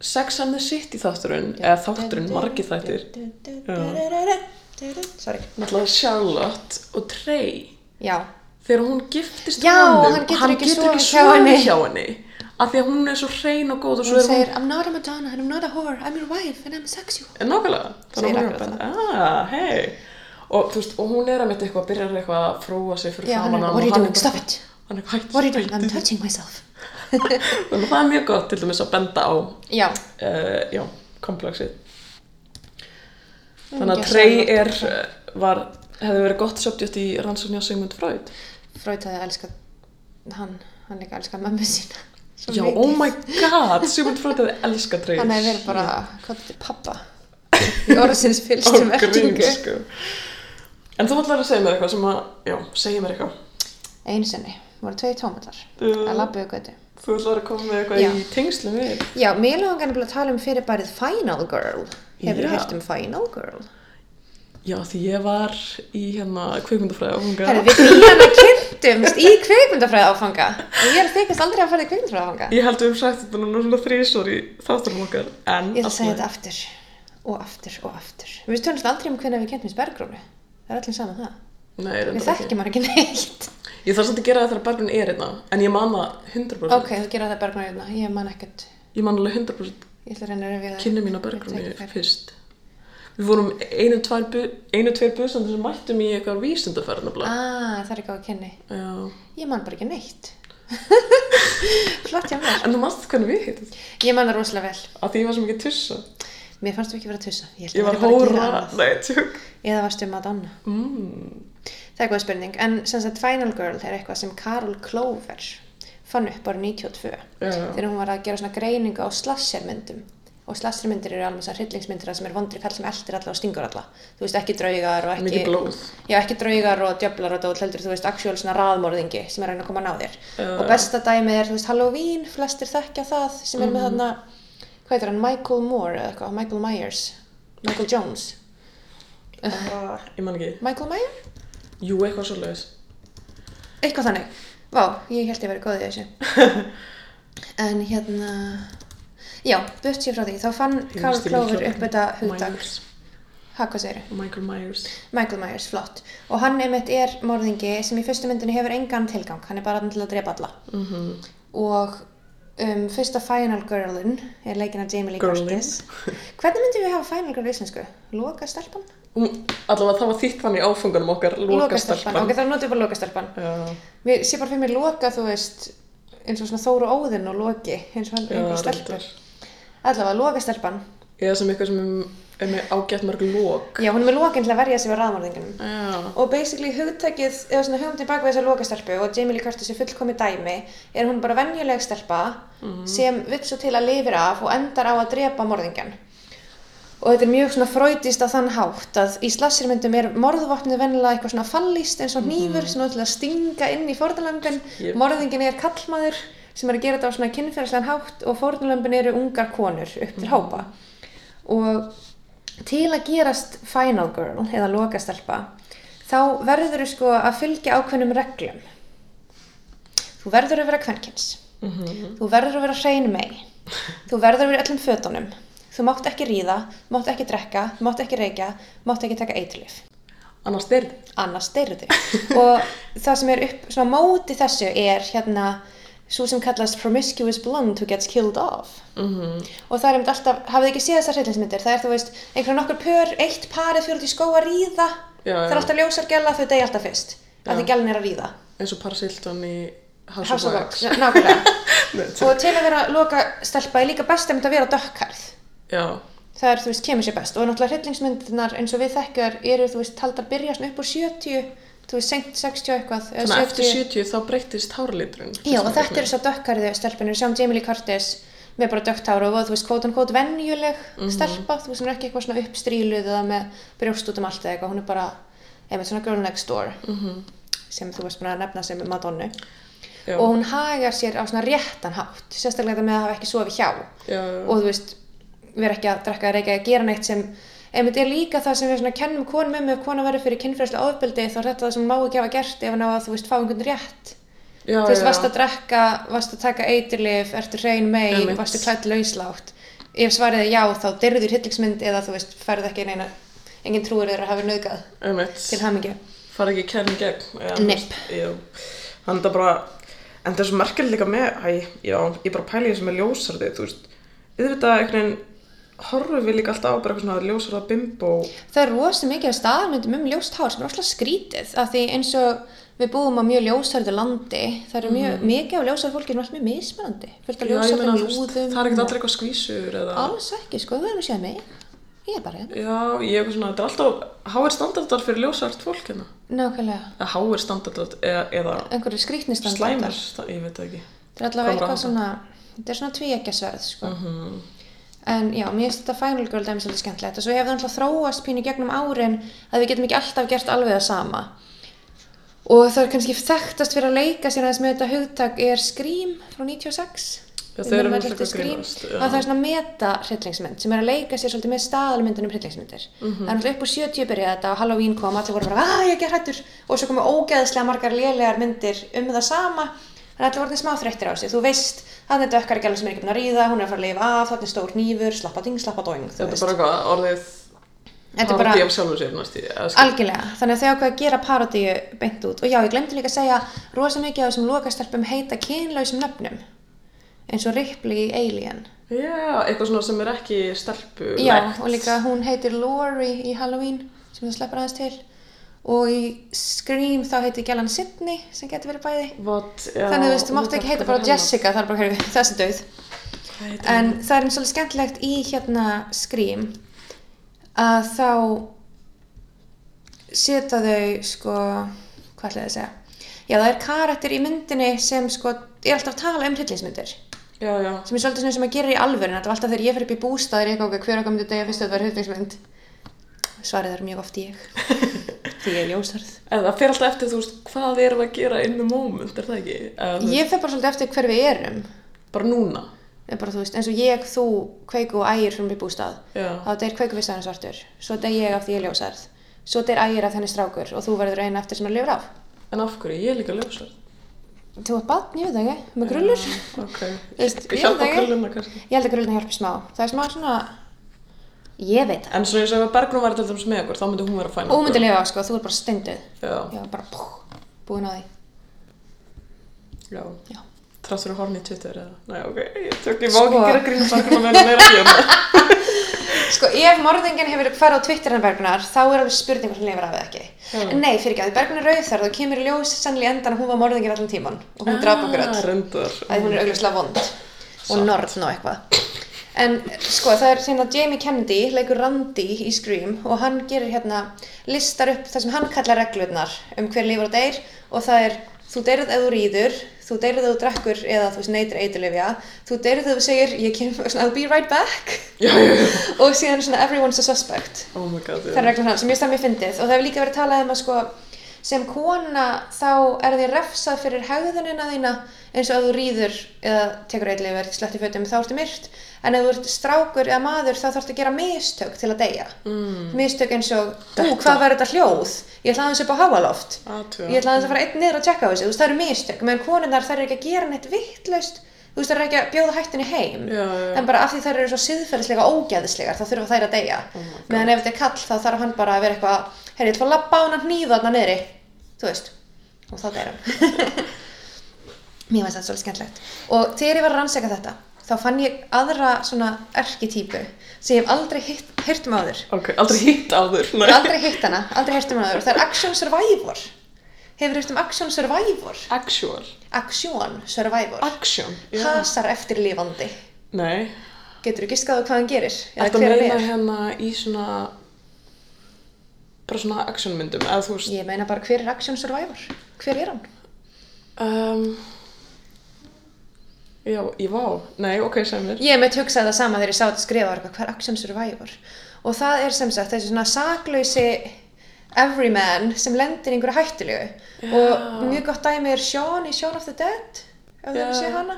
[SPEAKER 1] Sex and the City þátturinn eða þátturinn margir þættir
[SPEAKER 2] Sorry.
[SPEAKER 1] náttúrulega Charlotte og Trey
[SPEAKER 2] Já.
[SPEAKER 1] þegar hún giftist
[SPEAKER 2] Já,
[SPEAKER 1] honum,
[SPEAKER 2] hann getur ekki sofið hjá
[SPEAKER 1] sofið
[SPEAKER 2] henni.
[SPEAKER 1] hjá henni af því að hún er svo hrein og góð og svo
[SPEAKER 2] Hún
[SPEAKER 1] er hún
[SPEAKER 2] segir, I'm not a Madonna and I'm not a whore, I'm your wife and I'm sexual.
[SPEAKER 1] Eh, nákvæmlega, þannig
[SPEAKER 2] Segir
[SPEAKER 1] að hún er
[SPEAKER 2] akkurat
[SPEAKER 1] bara ah, hei og, þú veist, og hún er að mitt eitthvað að byrja eitthvað að fróa sig fyrir
[SPEAKER 2] Já, hann er
[SPEAKER 1] framan
[SPEAKER 2] bara, what are you
[SPEAKER 1] hann og hann
[SPEAKER 2] doing,
[SPEAKER 1] bara-
[SPEAKER 2] stop it.
[SPEAKER 1] hann er hætt
[SPEAKER 2] What are you doing, I'm touching myself.
[SPEAKER 1] og það er mjög gott til dæmis að benda á
[SPEAKER 2] Já.
[SPEAKER 1] uh, já, komplexið þannig
[SPEAKER 2] Ég
[SPEAKER 1] að Trey
[SPEAKER 2] sagði
[SPEAKER 1] er
[SPEAKER 2] það.
[SPEAKER 1] eh, var, hefði verið gott subject í rannsóknja Sigmund Freud
[SPEAKER 2] Freud hafði elskað hann, hann líka elskað mömmu sína Svo
[SPEAKER 1] já,
[SPEAKER 2] mikið.
[SPEAKER 1] oh my god, Sigmund Freud hefði elskað Trey
[SPEAKER 2] Hann hefði verið bara, hvað þetta er pappa í orðsins fylgstu
[SPEAKER 1] Á grín,
[SPEAKER 2] merkingu
[SPEAKER 1] sko. En þú ætlar að segja mér eitthvað sem að, já, segja mér eitthvað.
[SPEAKER 2] Einu sinni, voru tvei tómatar
[SPEAKER 1] Já.
[SPEAKER 2] að labba við götu
[SPEAKER 1] Þú ætlar að koma með eitthvað
[SPEAKER 2] Já.
[SPEAKER 1] í tengslu við.
[SPEAKER 2] Já, mér langar nefnilega að tala um fyrirbærið Final Girl Hefur
[SPEAKER 1] Já.
[SPEAKER 2] þú hýrt um Final Girl?
[SPEAKER 1] Já, því ég var í hérna kvikmyndafræði áfunga.
[SPEAKER 2] Herri, við nýjana kynntumst í kveikmyndafræði áfanga og ég er að þykast aldrei að fara í kveikmyndafræði áfanga
[SPEAKER 1] Ég held við um sagt þetta núna svona þrísor í þáttunum okkar, en...
[SPEAKER 2] Ég ætla að segja
[SPEAKER 1] allt í
[SPEAKER 2] þetta aftur og aftur og aftur Við tölumst aldrei um hvernig við kynntumst Bergrónu Það er allir saman það
[SPEAKER 1] lagi. Nei,
[SPEAKER 2] Við
[SPEAKER 1] reyndar ekki.
[SPEAKER 2] þekkjum hann ekki neitt.
[SPEAKER 1] Ég þarf svolítið að gera það þegar Berglun er hérna, en ég man það 100%.
[SPEAKER 2] Ok, þú gera það Bergman hérna. Ég man ekkert.
[SPEAKER 1] Ég man alveg 100%
[SPEAKER 2] Ég ætla að reyna að reyna við það.
[SPEAKER 1] kynni mín á
[SPEAKER 2] Ég
[SPEAKER 1] Berglunni
[SPEAKER 2] tek þær.
[SPEAKER 1] fyrst. Við vorum einu, tvær, bu- einu tveir busandir sem mættum í eitthvað vísindaferð nefnilega.
[SPEAKER 2] Ah, það er ekki á að kynni.
[SPEAKER 1] Já.
[SPEAKER 2] Ég man bara ekki neitt. Flott hjá mér.
[SPEAKER 1] En þú manst hvernig við heitum?
[SPEAKER 2] Ég man það rosalega vel.
[SPEAKER 1] Af því ég var svo mikið tussa.
[SPEAKER 2] Mér fannst þú ekki vera að tussa. Ég, held
[SPEAKER 1] Ég
[SPEAKER 2] að
[SPEAKER 1] var
[SPEAKER 2] væri bara að gera
[SPEAKER 1] hóra,
[SPEAKER 2] annað.
[SPEAKER 1] nei, tjók.
[SPEAKER 2] Eða varstu um Madonna.
[SPEAKER 1] Mm.
[SPEAKER 2] Það er góð spurning. En sem sagt Final Girl er eitthvað sem Karol Clover fann upp árið 92.
[SPEAKER 1] Já.
[SPEAKER 2] Þegar hún var að gera svona greiningu á slashermyndum. Og slashermyndir eru alveg svona hryllingsmyndir þar sem er vondri kall sem eldir alla og stingur alla. Þú veist, ekki draugar og ekki...
[SPEAKER 1] Mikið blóð.
[SPEAKER 2] Já, ekki draugar og djöflar og dót heldur, þú veist, actual svona raðmorðingi sem er að reyna að koma að ná þér.
[SPEAKER 1] Já.
[SPEAKER 2] Og besta dæmið er, þú veist, Halloween, flestir þekkja það sem
[SPEAKER 1] Mhm.
[SPEAKER 2] er með þarna, hvað heitir hann, Michael Moore eða eitthvað, Michael Myers, Michael Jones. Ah.
[SPEAKER 1] Ég man ekki.
[SPEAKER 2] Michael Myers?
[SPEAKER 1] Jú, eitthvað svo leiðis.
[SPEAKER 2] Eitthvað þannig. Vá, ég held ég verið góð í þessu. en hérna, já, burt sér frá því, þá fann Karl Clover upp þetta hugtak.
[SPEAKER 1] Myers.
[SPEAKER 2] Hæ, hvað segir
[SPEAKER 1] Michael Myers.
[SPEAKER 2] Michael Myers, flott. Og hann einmitt er morðingi sem í fyrstu myndinni hefur engan tilgang, hann er bara þarna til að drepa alla.
[SPEAKER 1] Mhm.
[SPEAKER 2] Og um, fyrsta Final Girlin er leikin af Jamie Lee
[SPEAKER 1] Girlin.
[SPEAKER 2] Curtis. Hvernig myndum við hafa Final Girl í íslensku? Loka stelpan?
[SPEAKER 1] Um, allavega það var þitt þannig áfunganum okkar,
[SPEAKER 2] Ok,
[SPEAKER 1] lokastelpan.
[SPEAKER 2] þá notum við bara loka stelpan.
[SPEAKER 1] Já,
[SPEAKER 2] Mér sé bara fyrir mér loka, þú veist, eins og svona Þóru Óðinn og loki, eins og hann
[SPEAKER 1] já,
[SPEAKER 2] einhver
[SPEAKER 1] reyndar.
[SPEAKER 2] stelpur. Allavega, loka stelpan.
[SPEAKER 1] Eða sem eitthvað sem er- er með ágætt mörg lok.
[SPEAKER 2] Já, hún er með lokin til að verja sig við raðmörðingunum.
[SPEAKER 1] Já.
[SPEAKER 2] og basically hugtækið eða svona hugmyndin bak við þessa lokastelpu og Jamie Lee Curtis er fullkomið dæmi er hún bara venjuleg stelpa sem vill svo til að lifir af og endar á að drepa morðingjan og þetta er mjög svona fröytist á þann hátt að í slassirmyndum er morðvapnið venjulega eitthvað svona fallist eins og nýfur sem er til að stinga inn í fórnalömbin
[SPEAKER 1] Jep.
[SPEAKER 2] morðingin er kallmaður sem er að gera þetta á svona kynferðslegan hátt og fórnalömbin eru ungar konur upp til hópa og til að gerast final girl eða lokastelpa þá verður þú sko að fylgja ákveðnum reglum þú verður að vera kvenkins
[SPEAKER 1] Mhm.
[SPEAKER 2] þú verður að vera hrein mei þú verður að vera í öllum fötunum þú mátt ekki ríða, þú mátt ekki drekka þú mátt ekki reykja, þú mátt ekki taka eitlif
[SPEAKER 1] annars styrð
[SPEAKER 2] annars deyruðu og það sem er upp svona móti þessu er hérna svo sem kallast promiscuous blonde who gets killed off
[SPEAKER 1] Mhm.
[SPEAKER 2] -hmm. og það er einmitt alltaf, hafið þið ekki séð þessar hryllingsmyndir það er þú veist, einhverja nokkur pör eitt parið fyrir út í skó að ríða
[SPEAKER 1] Já,
[SPEAKER 2] það
[SPEAKER 1] já.
[SPEAKER 2] er alltaf ljósar gæla þau degi alltaf fyrst
[SPEAKER 1] Já.
[SPEAKER 2] að því gælin er að ríða
[SPEAKER 1] eins og Parasilton í House,
[SPEAKER 2] House of Wax,
[SPEAKER 1] Wax
[SPEAKER 2] nákvæmlega
[SPEAKER 1] Nei, tjá.
[SPEAKER 2] og til að vera loka stelpa er líka best einmitt að vera dökkarð
[SPEAKER 1] Já,
[SPEAKER 2] það er, þú veist, kemur sér best og náttúrulega hryllingsmyndirnar eins og við þekkjar eru, þú veist, taldar byrja svona upp úr 70 þú veist, seint 60 og eitthvað eða
[SPEAKER 1] þannig að eftir 70 þá breyttist hárliturinn
[SPEAKER 2] Já, og þetta eru svo dökkarðu stelpunir, sjáum Jamie Lee Curtis með bara dökkt hár og voða, þú veist, kvótan kvót venjuleg
[SPEAKER 1] Mhm.
[SPEAKER 2] stelpa, þú veist, hún er ekki eitthvað svona uppstríluð eða með brjóst út um allt eða eitthvað, hún er bara, einmitt svona girl next door sem þú veist búin að nefna sem Madonna
[SPEAKER 1] Mhm. Já.
[SPEAKER 2] og hún hagar sér á svona réttan hátt sérstaklega þetta með að hafa ekki sofið hjá
[SPEAKER 1] Já, já.
[SPEAKER 2] og þú veist, vera ekki að drekka eða reykja að gera neitt sem einmitt er líka það sem við svona kennum konum um ef kona verður fyrir kynfræðslu ofbeldi þá er þetta það sem hún má ekki hafa gert ef hann á að þú veist fá einhvern rétt
[SPEAKER 1] já,
[SPEAKER 2] þú veist,
[SPEAKER 1] já.
[SPEAKER 2] varst að drekka, varst að taka eitirlif, ertu hrein mei,
[SPEAKER 1] Einmitt.
[SPEAKER 2] varstu klætt lauslátt ef svarið er já, þá dyrður hryllingsmynd eða þú veist, ferð ekki neina engin trúur þeirra hafi nauðgað til
[SPEAKER 1] Einmitt,
[SPEAKER 2] hamingju
[SPEAKER 1] fara ekki kærn gegn eða, þú
[SPEAKER 2] Nei.
[SPEAKER 1] veist, jú. Þannig að það bara En það er svo merkjöld líka með Æ, já, ég bara pæli þessu með ljósarði Þú veist, auðvitað einhvern veginn Horfum við líka alltaf á bara eitthvað svona ljósarða bimbo
[SPEAKER 2] það er rosa mikið af staðmyndum um ljóst hár sem er rosalega skrítið af því eins og við búum á mjög ljósarðu landi það eru mjög, mikið af ljósarðu fólki sem er allt mjög mismunandi fullt af
[SPEAKER 1] Mhm. Já, ég meina,
[SPEAKER 2] ljósarðum
[SPEAKER 1] þú veist,
[SPEAKER 2] lúðum
[SPEAKER 1] Það er ekkert allir eitthvað skvísur eða...
[SPEAKER 2] alls ekki, sko, þú erum séð mig ég er bara hérna,
[SPEAKER 1] Já, ég er eitthvað svona, þetta er alltaf háir standardar fyrir ljósart fólk hérna.
[SPEAKER 2] nákvæmlega
[SPEAKER 1] Eða háir standardar eða, eða
[SPEAKER 2] einhverju skrítnistandi
[SPEAKER 1] slæmir, það- ég veit það ekki.
[SPEAKER 2] Þetta er allavega
[SPEAKER 1] Hvað var
[SPEAKER 2] eitthvað
[SPEAKER 1] annað?
[SPEAKER 2] svona, þetta er svona tvíeggjasverð, sko.
[SPEAKER 1] Mhm.
[SPEAKER 2] En já, mér finnst þetta Final Girl dæmis alveg skemmtilegt og svo hefur það alltaf þróast pínu í gegnum árin að við getum ekki alltaf gert alveg það sama. Og það er kannski þekktast fyrir að leika sér aðeins með þetta hugtak er Scream frá 96.
[SPEAKER 1] Já,
[SPEAKER 2] Við
[SPEAKER 1] þau eru
[SPEAKER 2] munum öll
[SPEAKER 1] náttúrulega
[SPEAKER 2] eftir Scream.
[SPEAKER 1] grínast, já.
[SPEAKER 2] Og það er svona meta hryllingsmynd sem er að leika sér svolítið með staðalmyndunum hryllingsmyndir.
[SPEAKER 1] Mhm.
[SPEAKER 2] Það er náttúrulega upp úr 70 byrjaði þetta og Halloween kom allir voru bara að ég er ekki hrættur og svo komu ógeðslega margar lélegar myndir um það sama þannig að allir voru orðnir smá þreyttir á sig. Þú veist að þetta ökkar ekki alveg sem er ekki búin að ríða, hún er að fara að lifa af, þarna er stór nýfur, slappa ding, slappa doing, þú
[SPEAKER 1] Þetta er
[SPEAKER 2] veist.
[SPEAKER 1] bara eitthvað orðið
[SPEAKER 2] Þetta er bara-
[SPEAKER 1] parodi af sjálfum sér næst í. eða sko. skil-
[SPEAKER 2] Algjörlega, þannig að þau ákveða að gera parodíu beint út og já, ég glemdi líka að segja rosa mikið af þessum lokastelpum heita kynlausum nöfnum eins og Ripley í Alien
[SPEAKER 1] Já, eitthvað svona sem er ekki stelpu.
[SPEAKER 2] Já, og líka hún heitir Lori í Halloween sem það sleppur aðeins til og í Scream þá heitir gælan Sydney sem getur verið bæði
[SPEAKER 1] What, já,
[SPEAKER 2] þannig þú veist, þú
[SPEAKER 1] og
[SPEAKER 2] mátt ekki heita
[SPEAKER 1] þetta
[SPEAKER 2] bara
[SPEAKER 1] er
[SPEAKER 2] Jessica það er bara hverju þessi dauð
[SPEAKER 1] hennar. Hvað heitir
[SPEAKER 2] en það er eins og alveg skemmtilegt í hérna Scream að þá setja þau sko hvað ætlaði ég að segja já það er karakter í myndinni sem sko er alltaf að tala um hryllingsmyndir
[SPEAKER 1] hún? Já, já.
[SPEAKER 2] sem er svolítið svona sem að gera í alvöru þetta var alltaf þegar ég fyrir upp í bústaðir eitthvað okkar hver okkar myndi degja fyrst að þetta var hryllingsmynd svarið er mjög oft ég því ég er ljósarð
[SPEAKER 1] En það fer alltaf eftir, þú veist, hvað erum við að gera in the moment, er það ekki? Eða, þú veist,
[SPEAKER 2] ég fer bara svolítið eftir hver við erum
[SPEAKER 1] Bara núna.
[SPEAKER 2] er bara, þú veist, eins og ég, þú, kveiku og ægir fyrir upp í bústað
[SPEAKER 1] Já.
[SPEAKER 2] þá deyr kveiku við staðinu svartur svo deyr ég af því ég er ljósarð svo deyr ægir af þenni strákur og þú verður eina eftir sem að lifur af
[SPEAKER 1] En af hverju? Ég er líka ljósar.
[SPEAKER 2] þú ert barn, ég veit það ekki, með grullur
[SPEAKER 1] Ok.
[SPEAKER 2] Veist, ég veit
[SPEAKER 1] Hjálpa
[SPEAKER 2] það ekki.
[SPEAKER 1] krulluna kannski.
[SPEAKER 2] ég held að grullna hjálpi smá það er smá svona, ég veit það
[SPEAKER 1] En svona eins og ef að Bergrún var til dæmis með okkur, þá myndi hún vera fæn.
[SPEAKER 2] og hún myndi lifa af, sko, þú ert bara steinduð
[SPEAKER 1] Já,
[SPEAKER 2] Já, bara pú, búin á því.
[SPEAKER 1] já.
[SPEAKER 2] Já.
[SPEAKER 1] Trátt fyrir horni í Twitter eða? Nei, ok, ég tök ég má ekki
[SPEAKER 2] Sko.
[SPEAKER 1] gera grínu Bergrún að vera meira ekki um það.
[SPEAKER 2] Sko, ef morðingin hefur farið á Twitter en Bergnar, þá er alveg spurning hvort hún lifir af eða ekki. En nei, fyrir ekki, að því Bergnar er rauð þar, þá kemur í ljós sannlega endan að hún var morðingin allan tíman og
[SPEAKER 1] Ah,
[SPEAKER 2] hún draf okkur öll.
[SPEAKER 1] Röndar.
[SPEAKER 2] Það hún er augljóslega vond og norðn og eitthvað. En sko, það er sem að Jamie Kennedy leikur Randy í Scream og hann gerir hérna, listar upp það sem hann kallar reglurnar um hver lifur og deyr og það er þú deyrið ef þú rýður, þú deyrið ef þú drekkur eða þú veist, neytir eitilifja, þú deyrið ef þú segir ég kem, svona, I'll be right back
[SPEAKER 1] Já, já, já.
[SPEAKER 2] og síðan svona everyone's a suspect
[SPEAKER 1] Oh my god,
[SPEAKER 2] það er
[SPEAKER 1] já.
[SPEAKER 2] reglum hans sem ég stað mér fyndið og það hefur líka verið talað um að sko sem kona þá er þið refsað fyrir hegðunina þína eins og ef þú rýður eða tekur eitthvað verið slett í fötum þá ertu myrt en ef þú ert strákur eða maður þá þarftu að gera mistök til að deyja mm. mistök eins og, ú, hvað var þetta hljóð ég ætla aðeins upp á háaloft
[SPEAKER 1] Athuga.
[SPEAKER 2] ég ætla aðeins að fara einn niður að tjekka á þessu þú veist það eru mistök, meðan konunnar þær eru ekki að gera neitt vittlaust þú veist þær eru ekki að bjóða hættinni heim
[SPEAKER 1] Já, já, já.
[SPEAKER 2] en bara af því þær eru svo siðferðislega ógæðislegar þá þurfa þær að deyja
[SPEAKER 1] Oh
[SPEAKER 2] meðan ef þetta er kall þá þarf hann bara að vera eitthvað herri, ég ætla að labba á hann að nýða hann niðri þú veist, og þá deyr hann mér finnst þetta svolítið skemmtlegt og þegar ég var að rannsaka þetta þá fann ég aðra svona erkitýpu sem ég hef aldrei hitt, hirt um áður
[SPEAKER 1] Ok, aldrei hitt áður.
[SPEAKER 2] Ég
[SPEAKER 1] Nei.
[SPEAKER 2] hef aldrei hitt hana, aldrei hirt um hana áður það er Action Survivor hefur hirt um Action Survivor
[SPEAKER 1] Actual.
[SPEAKER 2] Action Survivor
[SPEAKER 1] Action. Já.
[SPEAKER 2] hasar eftir lifandi
[SPEAKER 1] Nei.
[SPEAKER 2] getur þú giskaðu hvað hann gerir eða
[SPEAKER 1] Þetta
[SPEAKER 2] hver hann
[SPEAKER 1] meina
[SPEAKER 2] er
[SPEAKER 1] hérna í svona, bara svona actionmyndum, eða þú veist,
[SPEAKER 2] ég meina bara hver er Action Survivor hver er hann?
[SPEAKER 1] um, já, ég vá, nei, ok, sem er,
[SPEAKER 2] Ég mitt hugsaði það sama þegar ég sá þetta skrifa var eitthvað, hvað er Action Survivor? Og það er sem sagt þessi svona saklausi everyman sem lendir í einhverju hættulegu og mjög gott dæmi er Sean í Sean of the Dead ef þið hefur
[SPEAKER 1] Já.
[SPEAKER 2] séð hana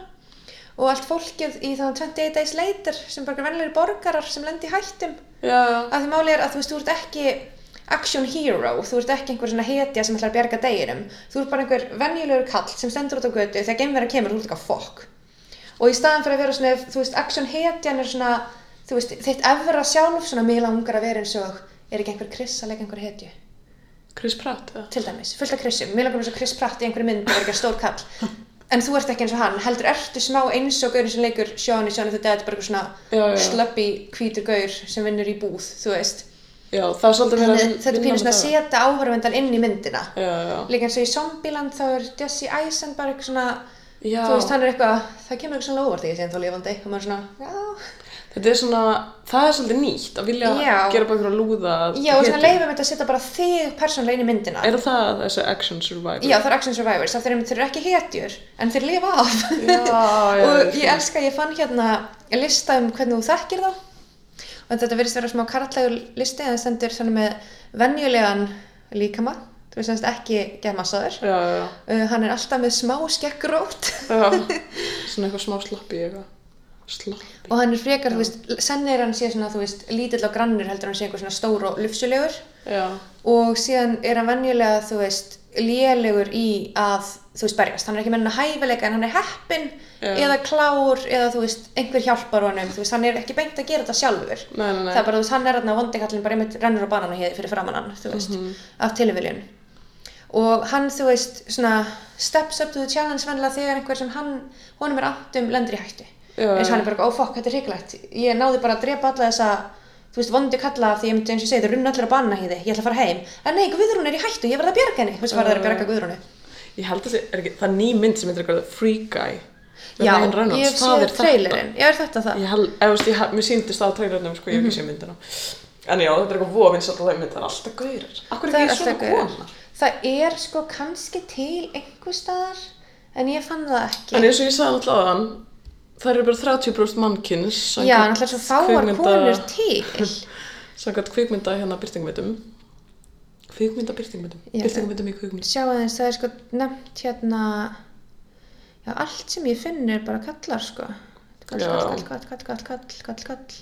[SPEAKER 2] og allt fólkið í þannig 28 Days Later sem bara vennilegir borgarar sem lendir í hættum
[SPEAKER 1] já,
[SPEAKER 2] að því máli er að þú veist, þú ert ekki action hero, þú ert ekki einhver svona hetja sem ætlar að bjarga deginum þú ert bara einhver venjulegur kall sem stendur út á götu þegar geimverðan kemur, þú ert eitthvað fokk og í staðan fyrir að vera svona, þú veist, action hetjan er svona, þú veist, þitt efra sjálf svona mjög langar að vera eins og er ekki einhver kriss að leika einhver hetju
[SPEAKER 1] Chris Pratt, eða,
[SPEAKER 2] til dæmis, fullt af krissum, mjög langar eins og Chris Pratt í einhverju mynd og er ekki stór kall en þú ert ekki eins og hann, heldur ertu smá eins og gaurinn sem leikur Sean í Sean of the Dead bara einhver
[SPEAKER 1] Já,
[SPEAKER 2] svona
[SPEAKER 1] já, já.
[SPEAKER 2] slöppi hvítur gaur sem vinnur í búð, þú veist
[SPEAKER 1] já, það er svolítið verið
[SPEAKER 2] Þannig að þetta er pínu svona að setja áhverfandan inn í myndina
[SPEAKER 1] Já, já,
[SPEAKER 2] líka eins og í Zombieland þá er Jesse Eisenberg eitthvað svona
[SPEAKER 1] Já.
[SPEAKER 2] þú veist hann er eitthvað, það kemur eitthvað svona óvart í þessi en þá lifandi og maður svona, já
[SPEAKER 1] þetta er svona, það er svolítið nýtt að vilja
[SPEAKER 2] Já.
[SPEAKER 1] gera bara einhverja lúða
[SPEAKER 2] já og svona
[SPEAKER 1] hetju.
[SPEAKER 2] leifum þetta að setja bara þig persónulega inn í myndina
[SPEAKER 1] Er það þessi action survivor?
[SPEAKER 2] já það er Action Survivors, þá þeir eru- þeir eru ekki hetjur en þeir lifa af
[SPEAKER 1] Já, já,
[SPEAKER 2] og
[SPEAKER 1] já,
[SPEAKER 2] ég elska, ég fann hérna lista um hvernig þú þekkir þá og þetta verðist vera smá karlægur listi en það stendur svona með venjulegan líkama, þú veist semst ekki gemmasaður
[SPEAKER 1] Já, já, já.
[SPEAKER 2] Uh, hann er alltaf með smá skeggrót
[SPEAKER 1] Já, svona eitthvað smá slappi eitthvað. Slappi.
[SPEAKER 2] og hann er frekar, þú veist, senn er hann sé svona, þú veist, lítill og grannur heldur en hann sé einhver svona stór og lufsulegur
[SPEAKER 1] Já,
[SPEAKER 2] og síðan er hann venjulega, þú veist, lélegur í að, þú veist, berjast. Hann er ekki með hennar hæfileika en hann er heppin
[SPEAKER 1] Já.
[SPEAKER 2] eða klár eða, þú veist, einhver hjálpar honum, þú veist, hann er ekki beint að gera þetta sjálfur.
[SPEAKER 1] nei, nei, nei.
[SPEAKER 2] það er bara, þú veist, hann er þarna vondikallin bara einmitt rennur á banan og hér fyrir framann hann, þú veist,
[SPEAKER 1] Mhm.
[SPEAKER 2] af tilviljun og hann, þú veist, svona steps up to the challenge venlega þegar einhver sem hann, honum er andum lendur í hættu
[SPEAKER 1] Já,
[SPEAKER 2] eins og
[SPEAKER 1] já.
[SPEAKER 2] hann er bara, ó fokk, þetta er hrikalegt ég náði bara að drepa alla þessa þú veist, vondi kalla af því ég myndi eins og ég segi, það runna allir á banan hér, ég ætla að fara heim en nei, Guðrún er í hættu, ég verð að bjarga henni þú veist, var það að bjarga Guðrúnu
[SPEAKER 1] Ég held að sé, er ekki, það er ný mynd sem heitir eitthvað The Free Guy. með
[SPEAKER 2] já,
[SPEAKER 1] Ryan Reynolds.
[SPEAKER 2] ég hef
[SPEAKER 1] Það
[SPEAKER 2] séð
[SPEAKER 1] er þetta.
[SPEAKER 2] trailerinn, já, er þetta það?
[SPEAKER 1] Ég held, eða veist, ég, hef- mér síndist það á trailernum, sko, ég hef ekki
[SPEAKER 2] Mhm.
[SPEAKER 1] séð myndina. En já, þetta er eitthvað vofinn svolítið að það mynd, það er alltaf gaurar. Akkur
[SPEAKER 2] það
[SPEAKER 1] er
[SPEAKER 2] er
[SPEAKER 1] ekki svona
[SPEAKER 2] alltaf gaurar.
[SPEAKER 1] kona?
[SPEAKER 2] Það er sko kannski til einhver staðar, en ég fann það ekki.
[SPEAKER 1] En eins og ég sagði alltaf aðan, það eru bara 30% mannkynns.
[SPEAKER 2] Já,
[SPEAKER 1] samkvæmt
[SPEAKER 2] en alltaf svo fáar
[SPEAKER 1] kvikmynda-
[SPEAKER 2] konur til.
[SPEAKER 1] Samkvæmt kvikmynda hérna byrtingmyndum. Kvikmynda byrtingmyndum.
[SPEAKER 2] Já.
[SPEAKER 1] Byrtingmyndum í kvikmynd.
[SPEAKER 2] Sjá aðeins, það er sko nefnt hérna, já, allt sem ég finn er bara kallar sko. Kall,
[SPEAKER 1] Já.
[SPEAKER 2] kall, kall, kall, kall, kall, kall, kall.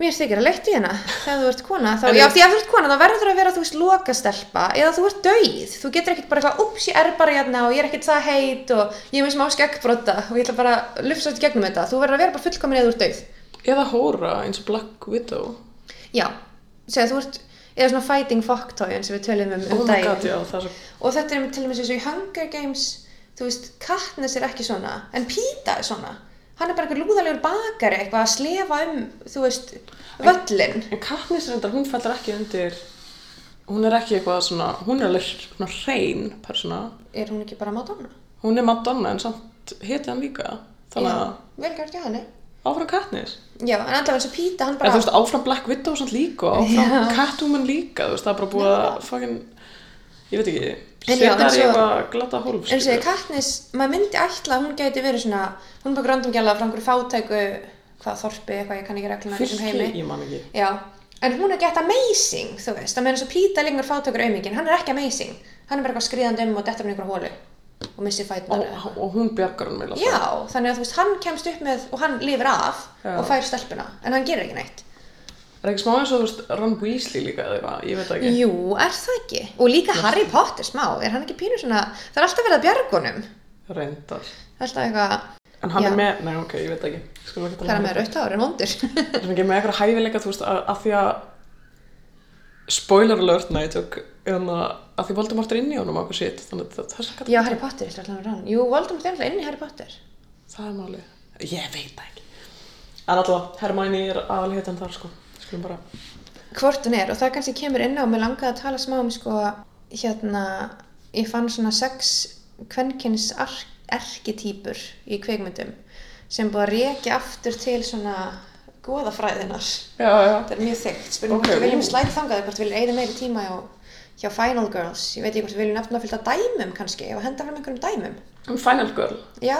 [SPEAKER 2] Mér þykir að leitt í hérna, þegar þú ert kona, þá,
[SPEAKER 1] En
[SPEAKER 2] já,
[SPEAKER 1] ég-
[SPEAKER 2] því að þú ert kona, þá verður að vera, þú veist, lokastelpa, eða þú ert dauð, þú getur ekkert bara eitthvað, ups, ég er bara hérna og ég er ekkert það heit og ég er með smá skeggbrota og ég ætla bara að lufsa þetta gegnum þetta, þú verður að vera bara fullkomin eða þú ert dauð.
[SPEAKER 1] Eða hóra eins og Black Widow.
[SPEAKER 2] Já, segja þú ert eða svona fighting fucktoyin sem við tölum um um
[SPEAKER 1] Oh my
[SPEAKER 2] daginn
[SPEAKER 1] god, já, það er svo
[SPEAKER 2] og þetta er einmitt til og með eins og í Hunger Games þú veist, Katniss er ekki svona en Píta er svona hann er bara einhver lúðalegur bakari eitthvað að slefa um, þú veist, völlin
[SPEAKER 1] En Katniss reyndar, hún fellur ekki undir hún er ekki eitthvað svona hún er alveg svona hrein persóna
[SPEAKER 2] er hún ekki bara Madonna?
[SPEAKER 1] hún er Madonna en samt heti hann líka þannig að
[SPEAKER 2] Já, vel gert, já, hann
[SPEAKER 1] áfram Katniss
[SPEAKER 2] já, en allavega eins og Píta, hann
[SPEAKER 1] en þú
[SPEAKER 2] bara
[SPEAKER 1] veist áfram Black Widow samt líka og áfram Catwoman líka þú veist það er bara búið að fucking ég veit ekki
[SPEAKER 2] En já,
[SPEAKER 1] setja
[SPEAKER 2] en
[SPEAKER 1] þær í
[SPEAKER 2] svo-
[SPEAKER 1] eitthvað glata hólf
[SPEAKER 2] eins og
[SPEAKER 1] skilur.
[SPEAKER 2] ég Katniss, maður myndi ætla að hún gæti verið svona, hún er bara gröndumgjala frá einhverju fátæku, hvað þorpi, eitthvað ég kann ekki regluna í þessum heimi
[SPEAKER 1] fylki, ég man ekki
[SPEAKER 2] Já, en hún er gett amazing, þú veist það meina svo Píta lengur fátökur auðmikinn, hann er ekki amazing hann er bara eitthvað skriðandi um og dettur um einhverju hólu og missir fætnar
[SPEAKER 1] og, og hún bjargar hann meila
[SPEAKER 2] já, þannig að þú veist, hann kemst upp með og hann lifir af
[SPEAKER 1] Já.
[SPEAKER 2] og fær stelpuna en hann gerir ekki neitt
[SPEAKER 1] er ekki smá eins og þú veist Ron Weasley líka eða eitthvað, ég veit það ekki
[SPEAKER 2] Jú, er það ekki? Og líka Harry Potter smá, er hann ekki pínu svona það er alltaf verið að bjargunum
[SPEAKER 1] reyndar
[SPEAKER 2] alltaf eitthvað,
[SPEAKER 1] en hann
[SPEAKER 2] Já.
[SPEAKER 1] er með, nei ok, ég veit það ekki skulum
[SPEAKER 2] það
[SPEAKER 1] ekki tala
[SPEAKER 2] er
[SPEAKER 1] um
[SPEAKER 2] með rautt ára en vondur
[SPEAKER 1] það er ekki með eitthvað hæfileika þú veist að, að því að spoiler alert nei, ég tök en að, að því Voldemort er inn í honum og okkur sitt þannig að það, það, er-
[SPEAKER 2] Já, Harry Potter, ég ætla alltaf að rann Jú, Voldemort er alltaf inn í Harry Potter
[SPEAKER 1] það er málið ég veit það ekki en alltaf Hermæni er aðalheitan þar sko skulum bara
[SPEAKER 2] hvort hún er og það kannski kemur inn á og mér langaði að tala smá um sko hérna, ég fann svona sex kvenkins erketýpur í kveikmyndum sem búið að reykja aftur til svona goðafræðinar
[SPEAKER 1] já, já
[SPEAKER 2] þetta er mjög þykkt, spurning
[SPEAKER 1] Ok,
[SPEAKER 2] hvort við viljum
[SPEAKER 1] ú.
[SPEAKER 2] slæði þangað eða hvort við viljum eigða meiri tíma hjá, hjá Final Girls, ég veit ekki hvort við viljum nefna fylgta dæmum kannski, ef að henda fram einhverjum dæmum
[SPEAKER 1] um Final Girl
[SPEAKER 2] já,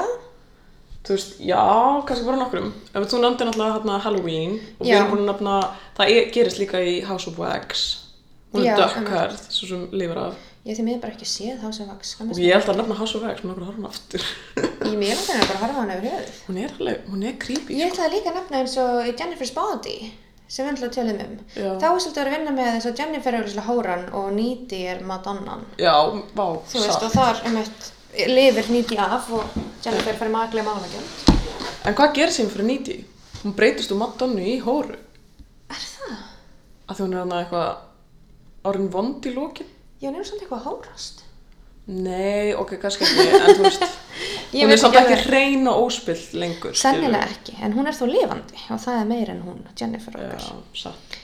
[SPEAKER 1] þú veist, já, kannski bara nokkrum ef þú nefndir náttúrulega hérna Halloween og við
[SPEAKER 2] Já.
[SPEAKER 1] erum búin að nefna, það er, gerist líka í House of Wax hún
[SPEAKER 2] Já,
[SPEAKER 1] er
[SPEAKER 2] einmitt.
[SPEAKER 1] dökkhærð, svo sem lifir af
[SPEAKER 2] ég því miður bara ekki séð House of Wax
[SPEAKER 1] og
[SPEAKER 2] skamast
[SPEAKER 1] ég held að nefna House of Wax, mér er bara að horfa á hana aftur
[SPEAKER 2] í mér þannig að bara horfa á hann yfir höfuð
[SPEAKER 1] hún er alveg, hún er creepy
[SPEAKER 2] Ég ætlaði líka að nefna eins og Jennifer's Body sem við ætlaði að tölum um.
[SPEAKER 1] Já.
[SPEAKER 2] Þá er svolítið að vera að vinna með eins og Jennifer er auðvitað hóran og Needy er Madonnan.
[SPEAKER 1] já, vá,
[SPEAKER 2] Þú veist,
[SPEAKER 1] satt.
[SPEAKER 2] og þar um eitt lifir Needy af og Jennifer fyrir maglega málagjönd.
[SPEAKER 1] en hvað gerir sem fyrir Needy? hún breytist úr Madonna í hóru
[SPEAKER 2] Er það?
[SPEAKER 1] að því hún er hann eitthvað orðin vond í lókin
[SPEAKER 2] Já, hún er samt eitthvað hórast.
[SPEAKER 1] nei, ok, kannski ekki, en þú veist
[SPEAKER 2] Ég
[SPEAKER 1] hún
[SPEAKER 2] veit
[SPEAKER 1] er samt
[SPEAKER 2] ekki
[SPEAKER 1] ekki
[SPEAKER 2] alveg.
[SPEAKER 1] hrein og óspill lengur skilur við.
[SPEAKER 2] Sennilega ekki, en hún er þó lifandi og það er meir en hún, Jennifer okkar.
[SPEAKER 1] já, satt